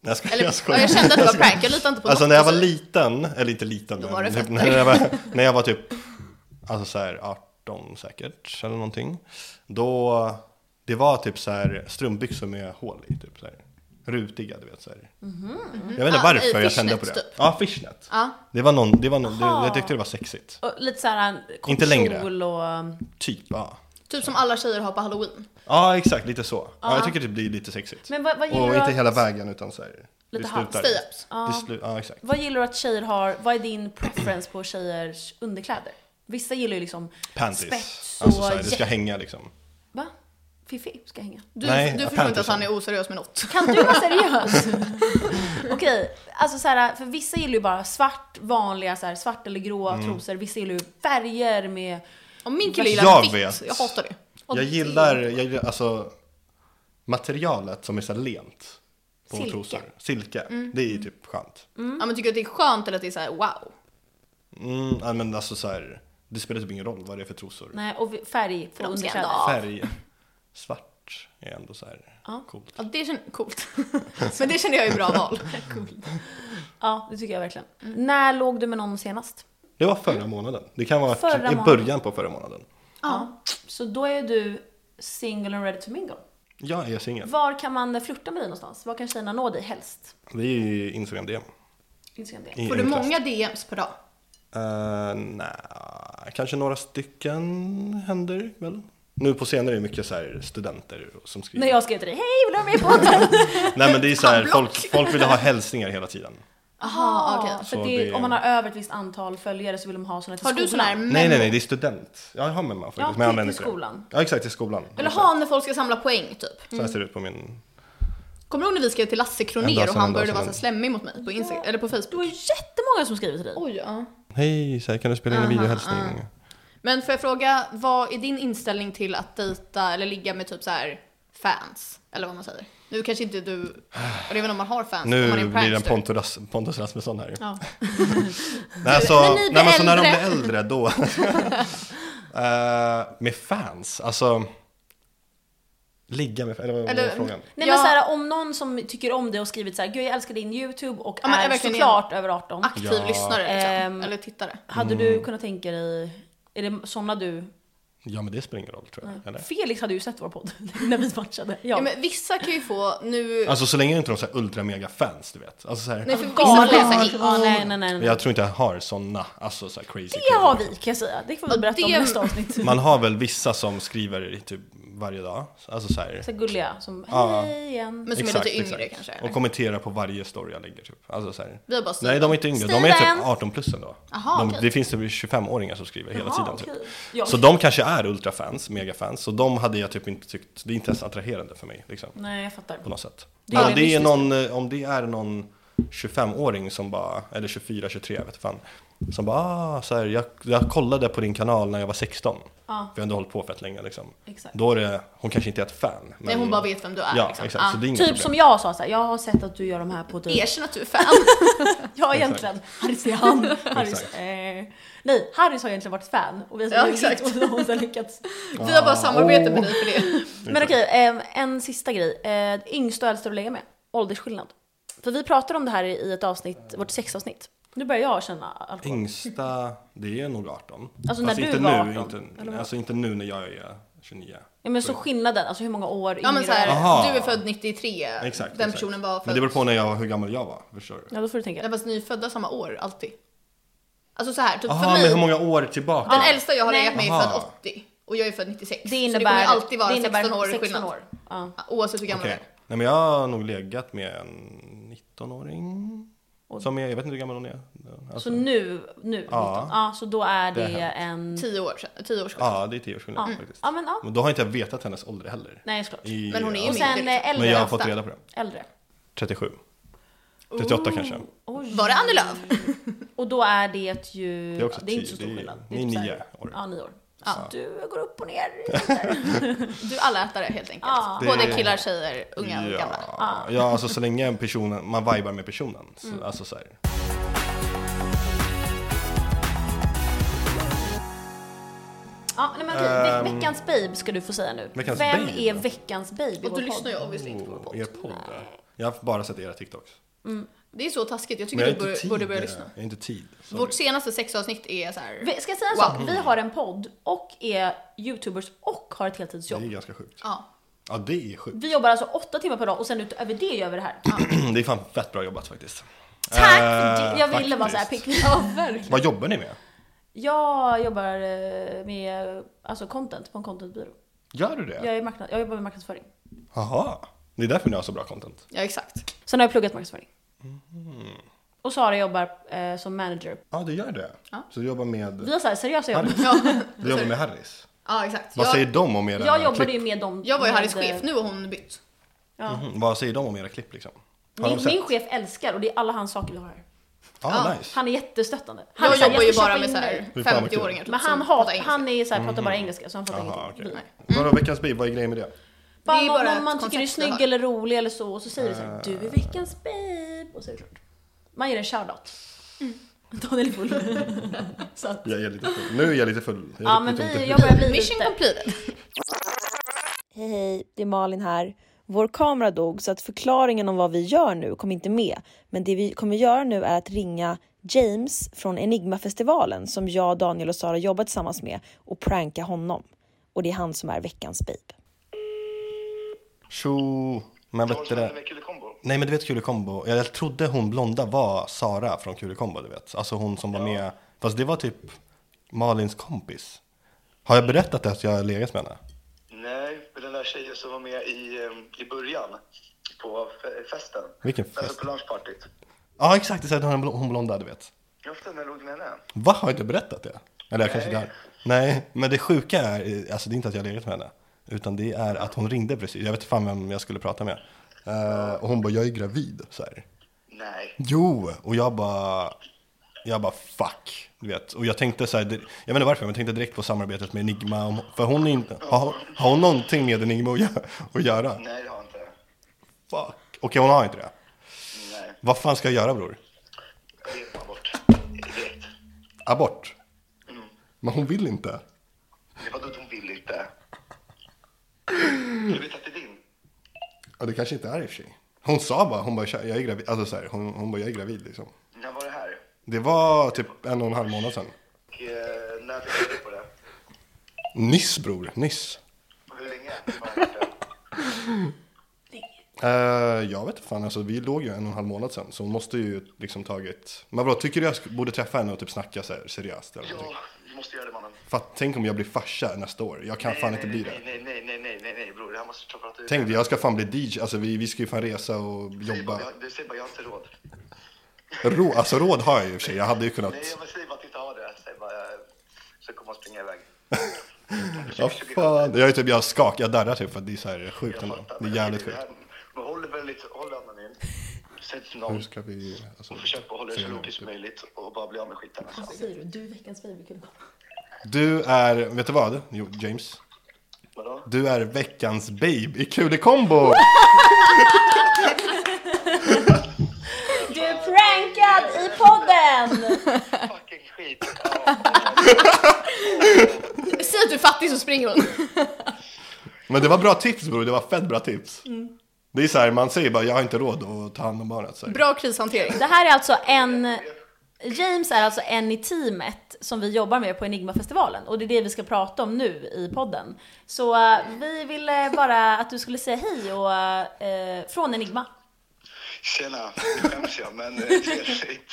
Speaker 1: Nej, jag skojar,
Speaker 3: Eller,
Speaker 1: jag
Speaker 3: jag,
Speaker 1: skojar.
Speaker 3: jag kände att det var prank, jag litar inte på
Speaker 1: Alltså
Speaker 3: något
Speaker 1: när jag
Speaker 3: du
Speaker 1: var
Speaker 3: säger.
Speaker 1: liten, eller inte liten,
Speaker 3: var det
Speaker 1: men typ,
Speaker 3: fötter.
Speaker 1: när, jag var, när jag var typ alltså så här 18 säkert, eller någonting. Då, det var typ så här strumpbyxor med hål i. Typ så här. Rutiga, du vet så här.
Speaker 2: Mm-hmm.
Speaker 1: Jag vet inte
Speaker 3: Ah, i
Speaker 1: varför jag kände på det.
Speaker 3: fishnet, typ.
Speaker 1: Ja, fishnet.
Speaker 3: Ja.
Speaker 1: Det var någon, det var någon, det,
Speaker 2: Aha.
Speaker 1: jag tyckte det var sexigt.
Speaker 2: Och lite såhär kort
Speaker 1: Inte längre.
Speaker 2: kjol och... ehm,
Speaker 1: Typ, ja.
Speaker 3: Typ som alla tjejer har på halloween.
Speaker 1: Ja, exakt, lite så. Ja, jag tycker det blir lite sexigt.
Speaker 2: Ah. Men vad, vad gillar
Speaker 1: Och
Speaker 2: du
Speaker 1: inte
Speaker 2: att,
Speaker 1: hela vägen utan så här. det
Speaker 2: Lite Ah.
Speaker 1: slutar.
Speaker 2: halvt,
Speaker 3: stay-ups.
Speaker 1: Det slu- ja, exakt.
Speaker 2: Vad gillar du att tjejer har? Vad är din preference på tjejers underkläder? Vissa gillar ju liksom...
Speaker 1: Panties.
Speaker 2: Spets
Speaker 1: alltså
Speaker 2: och
Speaker 1: så här, det ska
Speaker 2: jä-
Speaker 1: hänga liksom.
Speaker 2: Va? Fifi ska hänga.
Speaker 3: Du,
Speaker 1: Nej,
Speaker 3: du
Speaker 1: ja,
Speaker 3: förstår inte att
Speaker 1: Panthersson.
Speaker 3: han är oseriös med något.
Speaker 2: Kan du vara seriös? Okej, alltså så här, för vissa gillar ju bara svart, vanliga så här, svart eller gråa
Speaker 1: Mm.
Speaker 2: trosor. Vissa gillar ju färger med...
Speaker 3: Och min kille
Speaker 1: Jag
Speaker 3: gillar vitt.
Speaker 1: vet.
Speaker 3: Jag hatar det.
Speaker 2: och
Speaker 1: jag
Speaker 2: det-
Speaker 1: gillar, jag gillar alltså materialet som är så här lent. På
Speaker 2: Silke. Mm.
Speaker 1: trosor. Silke. Det är ju typ skönt.
Speaker 3: Ja, men tycker du att det är skönt eller att det är så här wow?
Speaker 1: Mm, ja, men alltså så här, det spelar typ ingen roll vad det är för trosor.
Speaker 2: Nej, och vi- färg på
Speaker 3: de ska
Speaker 2: underkläder.
Speaker 3: ändå ha.
Speaker 1: Färg. Svart är ändå så här
Speaker 2: Ja.
Speaker 1: coolt.
Speaker 3: Ja, det känns coolt. men det känner jag är bra val.
Speaker 2: Ja, det tycker jag verkligen.
Speaker 3: Mm.
Speaker 2: När låg du med någon senast?
Speaker 1: Det var förra månaden. Det kan vara
Speaker 2: Förra
Speaker 1: i början på förra månaden.
Speaker 3: Ja.
Speaker 2: Så då är du single and ready to mingle.
Speaker 1: Jag är singel.
Speaker 2: Var kan man flirta med dig någonstans? Var kan tjejerna nå dig helst?
Speaker 1: Det är ju Instagram DM.
Speaker 2: Instagram det.
Speaker 1: I
Speaker 3: Får du
Speaker 1: enklast.
Speaker 3: många DMs per dag?
Speaker 1: Eh, nej, kanske några stycken händer väl. Nu på senare är det mycket så här studenter som skriver.
Speaker 2: När jag skrev till dig, hej vill du vara med i podden?
Speaker 1: Nej men det är så här,
Speaker 3: Handblock.
Speaker 1: folk, folk vill ha hälsningar hela tiden.
Speaker 3: Aha, okej.
Speaker 2: För
Speaker 1: Så
Speaker 2: det,
Speaker 1: det-
Speaker 2: Om man har över ett visst antal följare så vill de ha såna till
Speaker 3: Har du sån
Speaker 2: skolan.
Speaker 3: här mem-
Speaker 1: Nej nej nej, det är student. Ja, Jag har med mig faktiskt.
Speaker 2: Ja,
Speaker 1: men jag
Speaker 2: till-
Speaker 1: använder
Speaker 2: till
Speaker 1: inte det.
Speaker 2: skolan.
Speaker 1: Ja exakt, till skolan.
Speaker 3: Eller
Speaker 1: Exakt.
Speaker 3: ha när folk ska samla poäng typ.
Speaker 1: Så här ser det ut på min...
Speaker 3: Kommer du ihåg när vi skrev till Lasse
Speaker 1: En dag
Speaker 3: Kronér
Speaker 1: sen,
Speaker 3: och
Speaker 1: en
Speaker 3: han
Speaker 1: dag
Speaker 3: började
Speaker 1: sen.
Speaker 3: vara så här slemmig mot mig på, Insta- eller på
Speaker 2: Det var
Speaker 3: Facebook?
Speaker 2: jättemånga som skriver till dig.
Speaker 3: Oj, ja.
Speaker 1: Hej, så här, kan du spela in en
Speaker 3: Aha,
Speaker 1: videohälsning?
Speaker 3: ah. Men får jag fråga, vad är din inställning till att dejta eller ligga med typ så här fans? Eller vad man säger. Nu kanske inte du, och det är väl om man har fans, om
Speaker 1: Nu
Speaker 3: man är
Speaker 1: blir det en
Speaker 3: prankster.
Speaker 1: Pontus, Ras- Pontus Rasmusson här.
Speaker 3: Ja.
Speaker 1: Nej, alltså,
Speaker 3: När ni blir
Speaker 1: nej, men så när de
Speaker 3: äldre.
Speaker 1: blir äldre då. Eh, med fans, alltså. Ligga med fans, eller vad var
Speaker 3: Eller-
Speaker 1: frågan?
Speaker 2: Nej
Speaker 3: Ja.
Speaker 2: men såhär, om någon som tycker om dig och skrivit såhär, gud jag älskar din YouTube och
Speaker 3: Ja, men är
Speaker 2: är
Speaker 3: verkligen
Speaker 2: såklart över 18.
Speaker 3: Aktiv
Speaker 1: Ja.
Speaker 3: lyssnare liksom,
Speaker 2: Ehm.
Speaker 3: eller tittare.
Speaker 2: Hade
Speaker 1: Mm.
Speaker 2: du kunnat tänka dig, är det såna du...
Speaker 1: Ja men det spelar ingen roll tror jag.
Speaker 2: Mm.
Speaker 1: Eller?
Speaker 2: Felix hade ju sett vår podd när vi matchade. Ja.
Speaker 3: Ja, men vissa kan ju få, nu,
Speaker 1: Alltså så länge inte de är så här ultra mega fans du vet. Alltså, så här,
Speaker 3: nej för vissa
Speaker 2: Galen.
Speaker 3: får läsa hit.
Speaker 2: Ja, nej, nej, nej,
Speaker 1: men
Speaker 2: nej.
Speaker 1: jag tror inte jag har sådana, alltså så här crazy.
Speaker 2: Det har vi kan jag säga. Det får vi
Speaker 3: Ja,
Speaker 2: berätta om
Speaker 3: det-
Speaker 2: nästa avsnitt.
Speaker 1: Man har väl vissa som skriver i typ varje dag. Alltså så här.
Speaker 2: Så gulliga som,
Speaker 1: Ja.
Speaker 2: hej igen.
Speaker 3: Men som är lite yngre kanske.
Speaker 1: Och kommenterar på varje story jag lägger typ. Alltså så här.
Speaker 3: Vi har bara Steven.
Speaker 1: Nej de är inte yngre, de är
Speaker 2: Steven!
Speaker 1: typ 18 plus ändå.
Speaker 3: Aha,
Speaker 1: de,
Speaker 3: okej.
Speaker 1: Det finns typ 25-åringar som skriver hela
Speaker 2: Jaha,
Speaker 1: tiden typ.
Speaker 2: okej. Ja.
Speaker 1: Så de kanske är ultrafans, megafans, så de hade jag typ inte tyckt, det är inte ens attraherande för mig liksom,
Speaker 2: Nej jag fattar.
Speaker 1: på något sätt.
Speaker 2: Det
Speaker 1: Det
Speaker 2: är
Speaker 1: om, det är
Speaker 2: mystiskt.
Speaker 1: någon, eh, om det är någon 25-åring som bara, eller 24, 23, jag vet fan, som bara ah, så här, jag, jag kollade på din kanal när jag var 16,
Speaker 2: Ja.
Speaker 1: för jag har ändå hållit på fett länge liksom.
Speaker 2: Exakt.
Speaker 1: Då är det, hon kanske inte är ett fan. Men,
Speaker 3: Nej hon bara vet vem du är
Speaker 1: Ja,
Speaker 3: liksom.
Speaker 1: exakt. Så
Speaker 3: Ah.
Speaker 1: det är inget
Speaker 2: Typ
Speaker 1: problem.
Speaker 2: som jag sa såhär, jag har sett att du gör de här på typ...
Speaker 3: Erkänn att du är fan.
Speaker 2: Ja
Speaker 1: Exakt.
Speaker 2: egentligen. Harrys är han. Harrys,
Speaker 1: Exakt.
Speaker 2: eh, nej, Harrys har egentligen varit fan och vi har
Speaker 3: Ja,
Speaker 2: ja, exakt.
Speaker 3: exakt.
Speaker 2: och hon har lyckats.
Speaker 3: Vi har bara samarbete med
Speaker 1: åh.
Speaker 3: dig för det.
Speaker 2: Men okej, eh, en sista grej. Eh, yngst och äldst att lägga med. Åldersskillnad. För vi pratade om det här i ett avsnitt, vårt sexavsnitt. Nu börjar jag känna alkohol.
Speaker 1: Yngsta, det är nog 18.
Speaker 2: Alltså,
Speaker 1: Fast
Speaker 2: när du
Speaker 1: inte
Speaker 2: var
Speaker 1: nu,
Speaker 2: 18, eller
Speaker 1: Inte,
Speaker 2: vad?
Speaker 1: alltså inte nu när jag är 29.
Speaker 2: Ja, men så skillnaden, alltså hur många år
Speaker 3: Ja men
Speaker 2: yngre-
Speaker 3: såhär,
Speaker 1: Aha.
Speaker 3: du är född 93,
Speaker 1: Exakt.
Speaker 3: den
Speaker 1: exakt.
Speaker 3: personen var född...
Speaker 1: Men det beror på när jag, hur gammal jag var, förstår du?
Speaker 2: Ja, då får du tänka.
Speaker 3: Nej fast ni är födda samma år alltid. Alltså så här, typ
Speaker 1: Jaha,
Speaker 3: för mig,
Speaker 1: men hur många år tillbaka?
Speaker 3: den äldsta jag har
Speaker 2: Nej.
Speaker 3: legat med är
Speaker 1: Aha.
Speaker 3: född 80 och jag är född 96.
Speaker 2: Det
Speaker 3: så det kommer
Speaker 2: innebär,
Speaker 3: ju alltid vara
Speaker 2: det innebär
Speaker 3: 16 år i skillnad.
Speaker 2: år. Ja.
Speaker 3: Oavsett hur gammal
Speaker 1: Okej.
Speaker 3: du är.
Speaker 1: Nej men jag har nog legat med en 19-åring.
Speaker 2: Och-
Speaker 1: Som är, jag vet inte hur gammal hon är. Alltså,
Speaker 2: Så nu, nu,
Speaker 1: Ja.
Speaker 2: 19. Ja, så då är
Speaker 1: Det
Speaker 2: det,
Speaker 1: har hänt.
Speaker 2: en...
Speaker 3: 10 år sedan, 10 år sedan.
Speaker 1: ja, det är 10 års skillnad
Speaker 2: Ja.
Speaker 1: faktiskt.
Speaker 2: ja, men ja.
Speaker 1: Men då har inte jag vetat hennes ålder heller.
Speaker 2: Nej, såklart.
Speaker 1: I-
Speaker 3: Men hon är ju liksom.
Speaker 2: Och
Speaker 1: alltså,
Speaker 3: mindre.
Speaker 2: sen eh, äldre.
Speaker 1: Men jag har
Speaker 2: nästa.
Speaker 1: fått reda på det.
Speaker 2: Äldre.
Speaker 1: 37. 38 kanske.
Speaker 2: Oj.
Speaker 3: Var det Annie Lööf?
Speaker 2: Och då är det ju...
Speaker 1: Det är också
Speaker 2: det är inte
Speaker 1: tio,
Speaker 2: så stor
Speaker 1: det är-
Speaker 2: skillnad.
Speaker 1: ni är
Speaker 2: typ så här-
Speaker 1: nio år.
Speaker 2: Ja, nio år.
Speaker 3: Ja.
Speaker 2: Så du går upp och ner.
Speaker 3: Du är allätare helt enkelt.
Speaker 2: Ja.
Speaker 3: Både
Speaker 1: Det-
Speaker 3: killar, tjejer, unga och gamla.
Speaker 1: ja. ja, alltså så länge personen, man vibar med personen. Så, Alltså så här.
Speaker 2: Ja, nej, men okej. Ve-
Speaker 1: Ehm.
Speaker 2: veckans babe ska du få säga nu.
Speaker 1: Veckans
Speaker 2: Vem
Speaker 1: babe?
Speaker 2: är veckans babe i
Speaker 3: Och
Speaker 2: vår
Speaker 3: du lyssnar ju
Speaker 2: podd?
Speaker 3: obviously inte på vår
Speaker 1: Oh, er
Speaker 3: podd.
Speaker 1: podd. ja. Jag har bara sett era TikToks.
Speaker 3: Det är så taskigt, jag
Speaker 1: Men
Speaker 3: tycker
Speaker 1: jag har
Speaker 3: du
Speaker 1: inte
Speaker 3: borde,
Speaker 1: tid.
Speaker 3: borde börja lyssna.
Speaker 1: Jag har inte tid. Så-
Speaker 3: Vårt senaste sexavsnitt är så här.
Speaker 2: Vi- Ska jag säga en
Speaker 3: Wow.
Speaker 2: sak? Vi har en podd och är youtubers och har ett heltidsjobb.
Speaker 1: Det är ganska sjukt.
Speaker 3: Ja.
Speaker 1: Ja, det är sjukt.
Speaker 2: Vi jobbar alltså åtta timmar per dag och sen utöver det gör vi det här. Ja.
Speaker 1: det är fan fett bra jobbat faktiskt.
Speaker 2: Tack!
Speaker 1: Eh,
Speaker 2: jag ville bara såhär
Speaker 1: faktiskt.
Speaker 2: pick
Speaker 3: Ja, verkligen.
Speaker 1: Vad jobbar ni med?
Speaker 2: Jag jobbar eh, med alltså content på en contentbyrå.
Speaker 1: Gör du det?
Speaker 2: Jag, är marknad, jag jobbar med marknadsföring.
Speaker 1: Jaha. Det är därför ni har så bra content.
Speaker 3: Ja, exakt.
Speaker 2: Sen har jag pluggat marknadsföring.
Speaker 3: Mm-hmm.
Speaker 2: Och Sara jobbar eh, som manager.
Speaker 1: Ja, du gör det.
Speaker 3: Ja.
Speaker 1: Så du jobbar med,
Speaker 2: Vi har så här seriösa jobb.
Speaker 1: Harris.
Speaker 3: Ja,
Speaker 1: du jobbar med Harris.
Speaker 3: ja exakt.
Speaker 1: Vad
Speaker 3: Jag,
Speaker 1: säger de om era
Speaker 2: Jag jobbade
Speaker 1: klipp?
Speaker 2: ju med dem.
Speaker 3: jag var ju
Speaker 2: med- eh,
Speaker 3: Harrys chef, nu har hon bytt.
Speaker 1: Mhm, Vad säger de om era klipp liksom? Har de
Speaker 2: Min,
Speaker 1: sett?
Speaker 2: min chef älskar och det är alla hans saker vi har här.
Speaker 1: ah,
Speaker 3: Ja.
Speaker 1: nice.
Speaker 2: Han är jättestöttande. Han är
Speaker 3: Jag
Speaker 2: så här,
Speaker 3: jobbar ju
Speaker 2: ska
Speaker 3: bara
Speaker 2: köpa
Speaker 3: med
Speaker 2: in
Speaker 3: så
Speaker 2: dig.
Speaker 3: här
Speaker 1: vad
Speaker 3: 50-åringar typ,
Speaker 2: Men han,
Speaker 3: som pratar
Speaker 2: hat,
Speaker 3: engelska.
Speaker 2: han är så här, pratar bara engelska så han fattar
Speaker 1: Jaha,
Speaker 2: ingenting.
Speaker 1: Mm-hmm. okej.
Speaker 2: Nej.
Speaker 1: Vadå veckans bi, vad är grejen med det?
Speaker 2: Bara,
Speaker 3: Det är
Speaker 2: någon-
Speaker 3: bara
Speaker 2: någon
Speaker 3: ett
Speaker 2: man tycker är
Speaker 3: koncept vi
Speaker 2: snygg
Speaker 3: har.
Speaker 2: eller rolig eller så och så säger du så här,
Speaker 1: Eh.
Speaker 2: du är veckans babe. Och så är det klart. Man ger en shoutout.
Speaker 3: Mm.
Speaker 2: Daniel är full. så att,
Speaker 1: Jag är lite full. Nu är jag lite full. Jag
Speaker 2: ja
Speaker 1: är
Speaker 2: men
Speaker 1: lite
Speaker 2: vi,
Speaker 1: ont i
Speaker 2: jag börjar bli
Speaker 3: Mission
Speaker 2: lite...
Speaker 3: completed.
Speaker 4: Hej hej, det är Malin här. Vår kamera dog så att förklaringen om vad vi gör nu kom inte med. Men det vi kommer göra nu är att ringa James från Enigmafestivalen som jag, Daniel och Sara jobbar tillsammans med och pranka honom. Och det är han som är veckans babe.
Speaker 1: Tjo! Men vet du det? Nej men du vet Kulekombo, jag trodde hon blonda var Sara från Kulekombo du vet. Alltså hon som var med, fast det var typ Malins kompis. Har jag berättat att jag har legat med henne?
Speaker 5: Nej, men den där tjejen som var med i, em, i början på fe- festen.
Speaker 1: Vilken
Speaker 5: Alltså
Speaker 1: fest?
Speaker 5: på lunchpartyt.
Speaker 1: Ja exakt, det är så här, hon hon blonda du vet.
Speaker 5: Jag förstår när jag låg med henne.
Speaker 1: Va, har jag inte berättat det? Eller jag kanske inte
Speaker 5: Nej.
Speaker 1: har. Nej, men det sjuka är, alltså det är inte att jag har legat med henne. Utan det är att hon ringde precis, jag vet inte fan vem jag skulle prata med. Eh, och hon bara, jag är gravid. Så här.
Speaker 5: Nej.
Speaker 1: Jo, och jag bara, jag bara fuck, du vet. Och jag tänkte så här, jag vet inte varför, men jag tänkte direkt på samarbetet med Enigma. om- För hon är inte, har, har hon någonting med Enigma att göra? Att göra?
Speaker 5: Nej, det har jag inte.
Speaker 1: Fuck. Okej, hon har inte det.
Speaker 5: Nej,
Speaker 1: Vad fan ska jag göra bror?
Speaker 5: det är bara bort. Direkt.
Speaker 1: Abort? Men hon vill inte.
Speaker 5: Det var då att hon vill inte. Du vet att det är din?
Speaker 1: Ja, det kanske inte är i och för sig. Hon sa bara, hon bara, "Tja, jag är gravid. Alltså så här, hon, hon bara, jag är gravid liksom.
Speaker 5: När var det här?
Speaker 1: Det var typ en och en halv månad sedan.
Speaker 5: Och, eh, när fick du reda på det?
Speaker 1: Nyss bror, nyss.
Speaker 5: Och hur länge? Var det?
Speaker 1: Eh, jag vet inte fan, alltså, vi låg ju en och en halv månad sedan så hon måste ju liksom tagit... Men vadå, tycker du jag sk- borde träffa henne och typ snacka så här, seriöst? Eller någonting?
Speaker 5: Ja, du måste göra det mannen.
Speaker 1: Fatt, tänk om jag blir farsa nästa år, jag kan fan inte bli det.
Speaker 5: Nej, nej, nej, nej, nej, nej, bror. Det här måste du prata ut.
Speaker 1: Tänk dig, jag ska fan bli DJ, alltså vi, vi ska ju fan resa och
Speaker 5: Säg bara,
Speaker 1: jobba.
Speaker 5: jag- Du säger bara, jag har inte råd.
Speaker 1: Rå, alltså råd har jag ju i och för sig, jag hade ju kunnat...
Speaker 5: Nej, jag vill säga bara att inte ha det. Säg bara, eh, så kommer man springa iväg.
Speaker 1: Ja, fan. Jag är typ, jag skakar, jag darrar typ för att det är så här sjukt
Speaker 5: Jag
Speaker 1: ändå.
Speaker 5: fattar,
Speaker 1: Det är
Speaker 5: men
Speaker 1: jävligt
Speaker 5: det
Speaker 1: sjukt.
Speaker 5: här- Men håll det väl lite, håll andan in. Säg inte till
Speaker 1: Hur
Speaker 5: någon.
Speaker 1: ska vi... Alltså,
Speaker 5: Försök att hålla det så lågt som möjligt och bara bli av med skiten.
Speaker 2: Vad
Speaker 5: Alltså.
Speaker 2: säger du? Du är veckans baby.
Speaker 1: Du är, vet du vad? Jo, James.
Speaker 5: Vadå?
Speaker 1: Du är veckans babe i Kulekombo!
Speaker 2: Du är prankad i podden!
Speaker 5: Fucking skit. Ja,
Speaker 3: Säg att du är fattig så springer hon.
Speaker 1: Men det var bra tips bror, det var fett bra tips.
Speaker 5: Mm.
Speaker 1: Det är så här, man säger bara jag har inte råd att ta hand om barnet. Så här.
Speaker 3: Bra krishantering.
Speaker 2: Det här är alltså en... James är alltså en i teamet som vi jobbar med på Enigmafestivalen och det är det vi ska prata om nu i podden. Så eh, vi ville bara att du skulle säga hej och, eh, från Enigma.
Speaker 5: Tjena, nu skäms jag men eh, trevligt.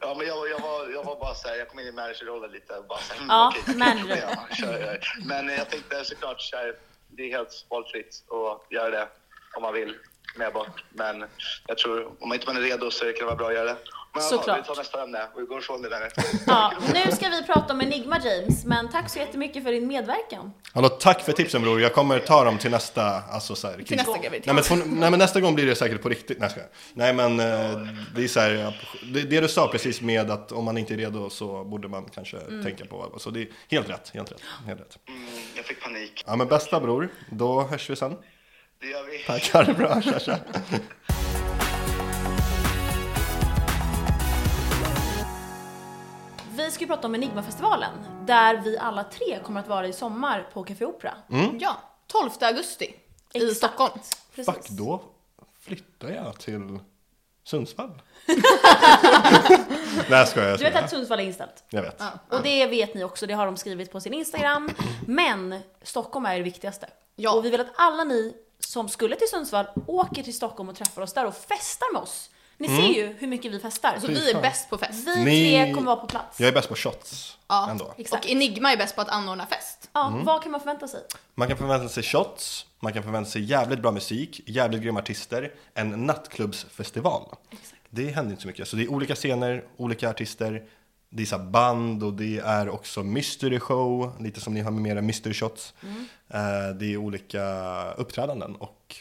Speaker 5: Ja men jag, jag, var, jag var bara så här, jag kom in i managerrollen lite och bara så här, mm,
Speaker 2: Ja,
Speaker 5: okej, det kan
Speaker 2: manager.
Speaker 5: jag göra, kör jag. Men eh, jag tänkte såklart så här, det är helt valfritt att göra det om man vill med abort. Men jag tror om man inte man är redo så kan det vara bra att göra det. Men ja,
Speaker 2: Såklart.
Speaker 5: vi tar nästa ämne och vi går ifrån det där.
Speaker 2: Ja, nu ska vi prata om Enigma James, men tack så jättemycket för din medverkan.
Speaker 1: Hallå, tack för tipsen bror, jag kommer ta dem till nästa, alltså så här, kris-
Speaker 3: nästa
Speaker 1: nej,
Speaker 3: graviditet.
Speaker 1: men, från, nej men nästa gång blir det säkert på riktigt, nej, ska jag. nej men eh, det är så här, ja, det, det du sa precis med att om man inte är redo så borde man kanske tänka på, alltså det är helt rätt, helt rätt, helt rätt.
Speaker 5: Mm, jag fick panik.
Speaker 1: Ja men bästa bror, då hörs vi sen.
Speaker 5: Det gör vi.
Speaker 1: Tack, ha det bra, tja tja.
Speaker 2: Vi ska ju prata om Enigmafestivalen, där vi alla tre kommer att vara i sommar på Café Opera.
Speaker 1: Mm.
Speaker 3: Ja, 12 augusti i
Speaker 2: Exakt.
Speaker 3: Stockholm.
Speaker 2: Precis.
Speaker 1: Fuck, då flyttar jag till Sundsvall. Nej, jag skojar. Jag,
Speaker 2: Du vet
Speaker 1: skojar.
Speaker 2: att Sundsvall är inställt?
Speaker 1: jag vet.
Speaker 2: Och det vet ni också, det har de skrivit på sin Instagram. Men Stockholm är det viktigaste.
Speaker 3: Ja.
Speaker 2: Och vi vill att alla ni som skulle till Sundsvall åker till Stockholm och träffar oss där och festar med oss. Ni ser ju hur mycket vi festar.
Speaker 3: Så vi är bäst på fest.
Speaker 2: Vi
Speaker 1: Alltså, Ni-
Speaker 2: tre kommer vara på plats.
Speaker 1: Jag är bäst på shots
Speaker 3: Ja,
Speaker 1: ändå.
Speaker 2: Exakt.
Speaker 3: Och Enigma är bäst på att anordna fest.
Speaker 2: Ja,
Speaker 1: Mm.
Speaker 2: Vad kan man förvänta sig?
Speaker 1: Man kan förvänta sig shots, man kan förvänta sig jävligt bra musik, jävligt grymma artister, en nattklubbsfestival. Det händer inte så mycket. Så det är olika scener, olika artister, det är så här band och det är också mystery show, lite som ni har med mera mystery shots.
Speaker 2: Mm.
Speaker 1: Eh, Det är olika uppträdanden och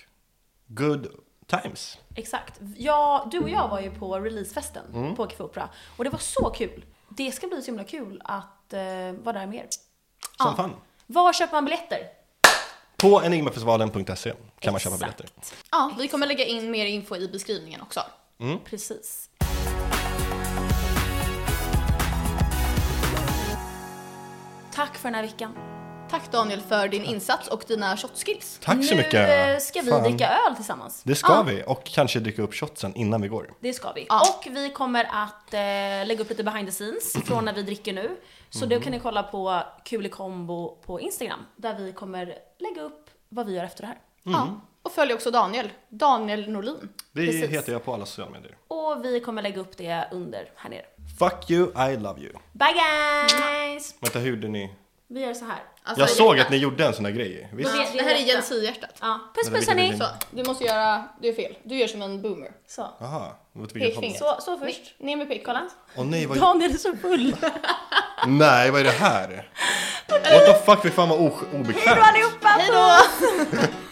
Speaker 1: good times.
Speaker 2: Exakt. Jag, du och jag var ju på releasefesten
Speaker 1: Mm.
Speaker 2: på Café Opera och det var så kul. Det ska bli så himla kul att eh, vara där med er.
Speaker 1: Som
Speaker 2: Ja.
Speaker 1: fan.
Speaker 2: Var köper man biljetter?
Speaker 1: På enigmafestivalen.se kan man köpa biljetter.
Speaker 3: Ja, vi kommer lägga in mer info i beskrivningen också.
Speaker 2: Precis. Tack för den här veckan.
Speaker 3: Tack Daniel för din insats och dina shotskills.
Speaker 1: Tack så
Speaker 2: nu
Speaker 1: mycket.
Speaker 2: eh, ska vi
Speaker 1: Fan.
Speaker 2: dricka öl tillsammans.
Speaker 1: Det ska
Speaker 3: Ja.
Speaker 1: vi och kanske dricka upp shotsen innan vi går.
Speaker 2: Det ska vi.
Speaker 3: Ja.
Speaker 2: Och vi kommer att eh, lägga upp lite behind the scenes från när vi dricker nu. Så
Speaker 1: Mhm.
Speaker 2: då kan ni kolla på Kulikombo på Instagram där vi kommer lägga upp vad vi gör efter det här.
Speaker 1: Mm.
Speaker 3: Ja. Och följ också Daniel. Daniel Norlin.
Speaker 1: Det
Speaker 2: Precis.
Speaker 1: heter jag på alla sociala medier.
Speaker 2: Och vi kommer lägga upp det under här nere.
Speaker 1: Fuck you, I love you.
Speaker 2: Bye
Speaker 3: Mm.
Speaker 2: guys!
Speaker 1: Vänta, hur gjorde ni?
Speaker 2: Vi gör så här.
Speaker 3: Alltså,
Speaker 1: Jag såg att ni gjorde en sån där grej. Visst?
Speaker 2: Ja.
Speaker 3: Det här är Jens i hjärtat.
Speaker 2: Ja, puss
Speaker 1: Vänta,
Speaker 2: puss
Speaker 1: vilken
Speaker 2: hörni!
Speaker 1: vill
Speaker 3: Så, du måste göra, du är fel. Du gör som en boomer.
Speaker 2: Så.
Speaker 1: Aha, typ åt vilket håll?
Speaker 3: Pekfingret.
Speaker 2: Så, så först.
Speaker 3: Ner med
Speaker 2: Kolla.
Speaker 3: pekfingret.
Speaker 1: Åh nej, vad...
Speaker 2: Daniel är så full.
Speaker 1: nej, vad är det här? What the fuck, fy fan vad o- obekvämt.
Speaker 2: Allihopa!
Speaker 3: Hej då!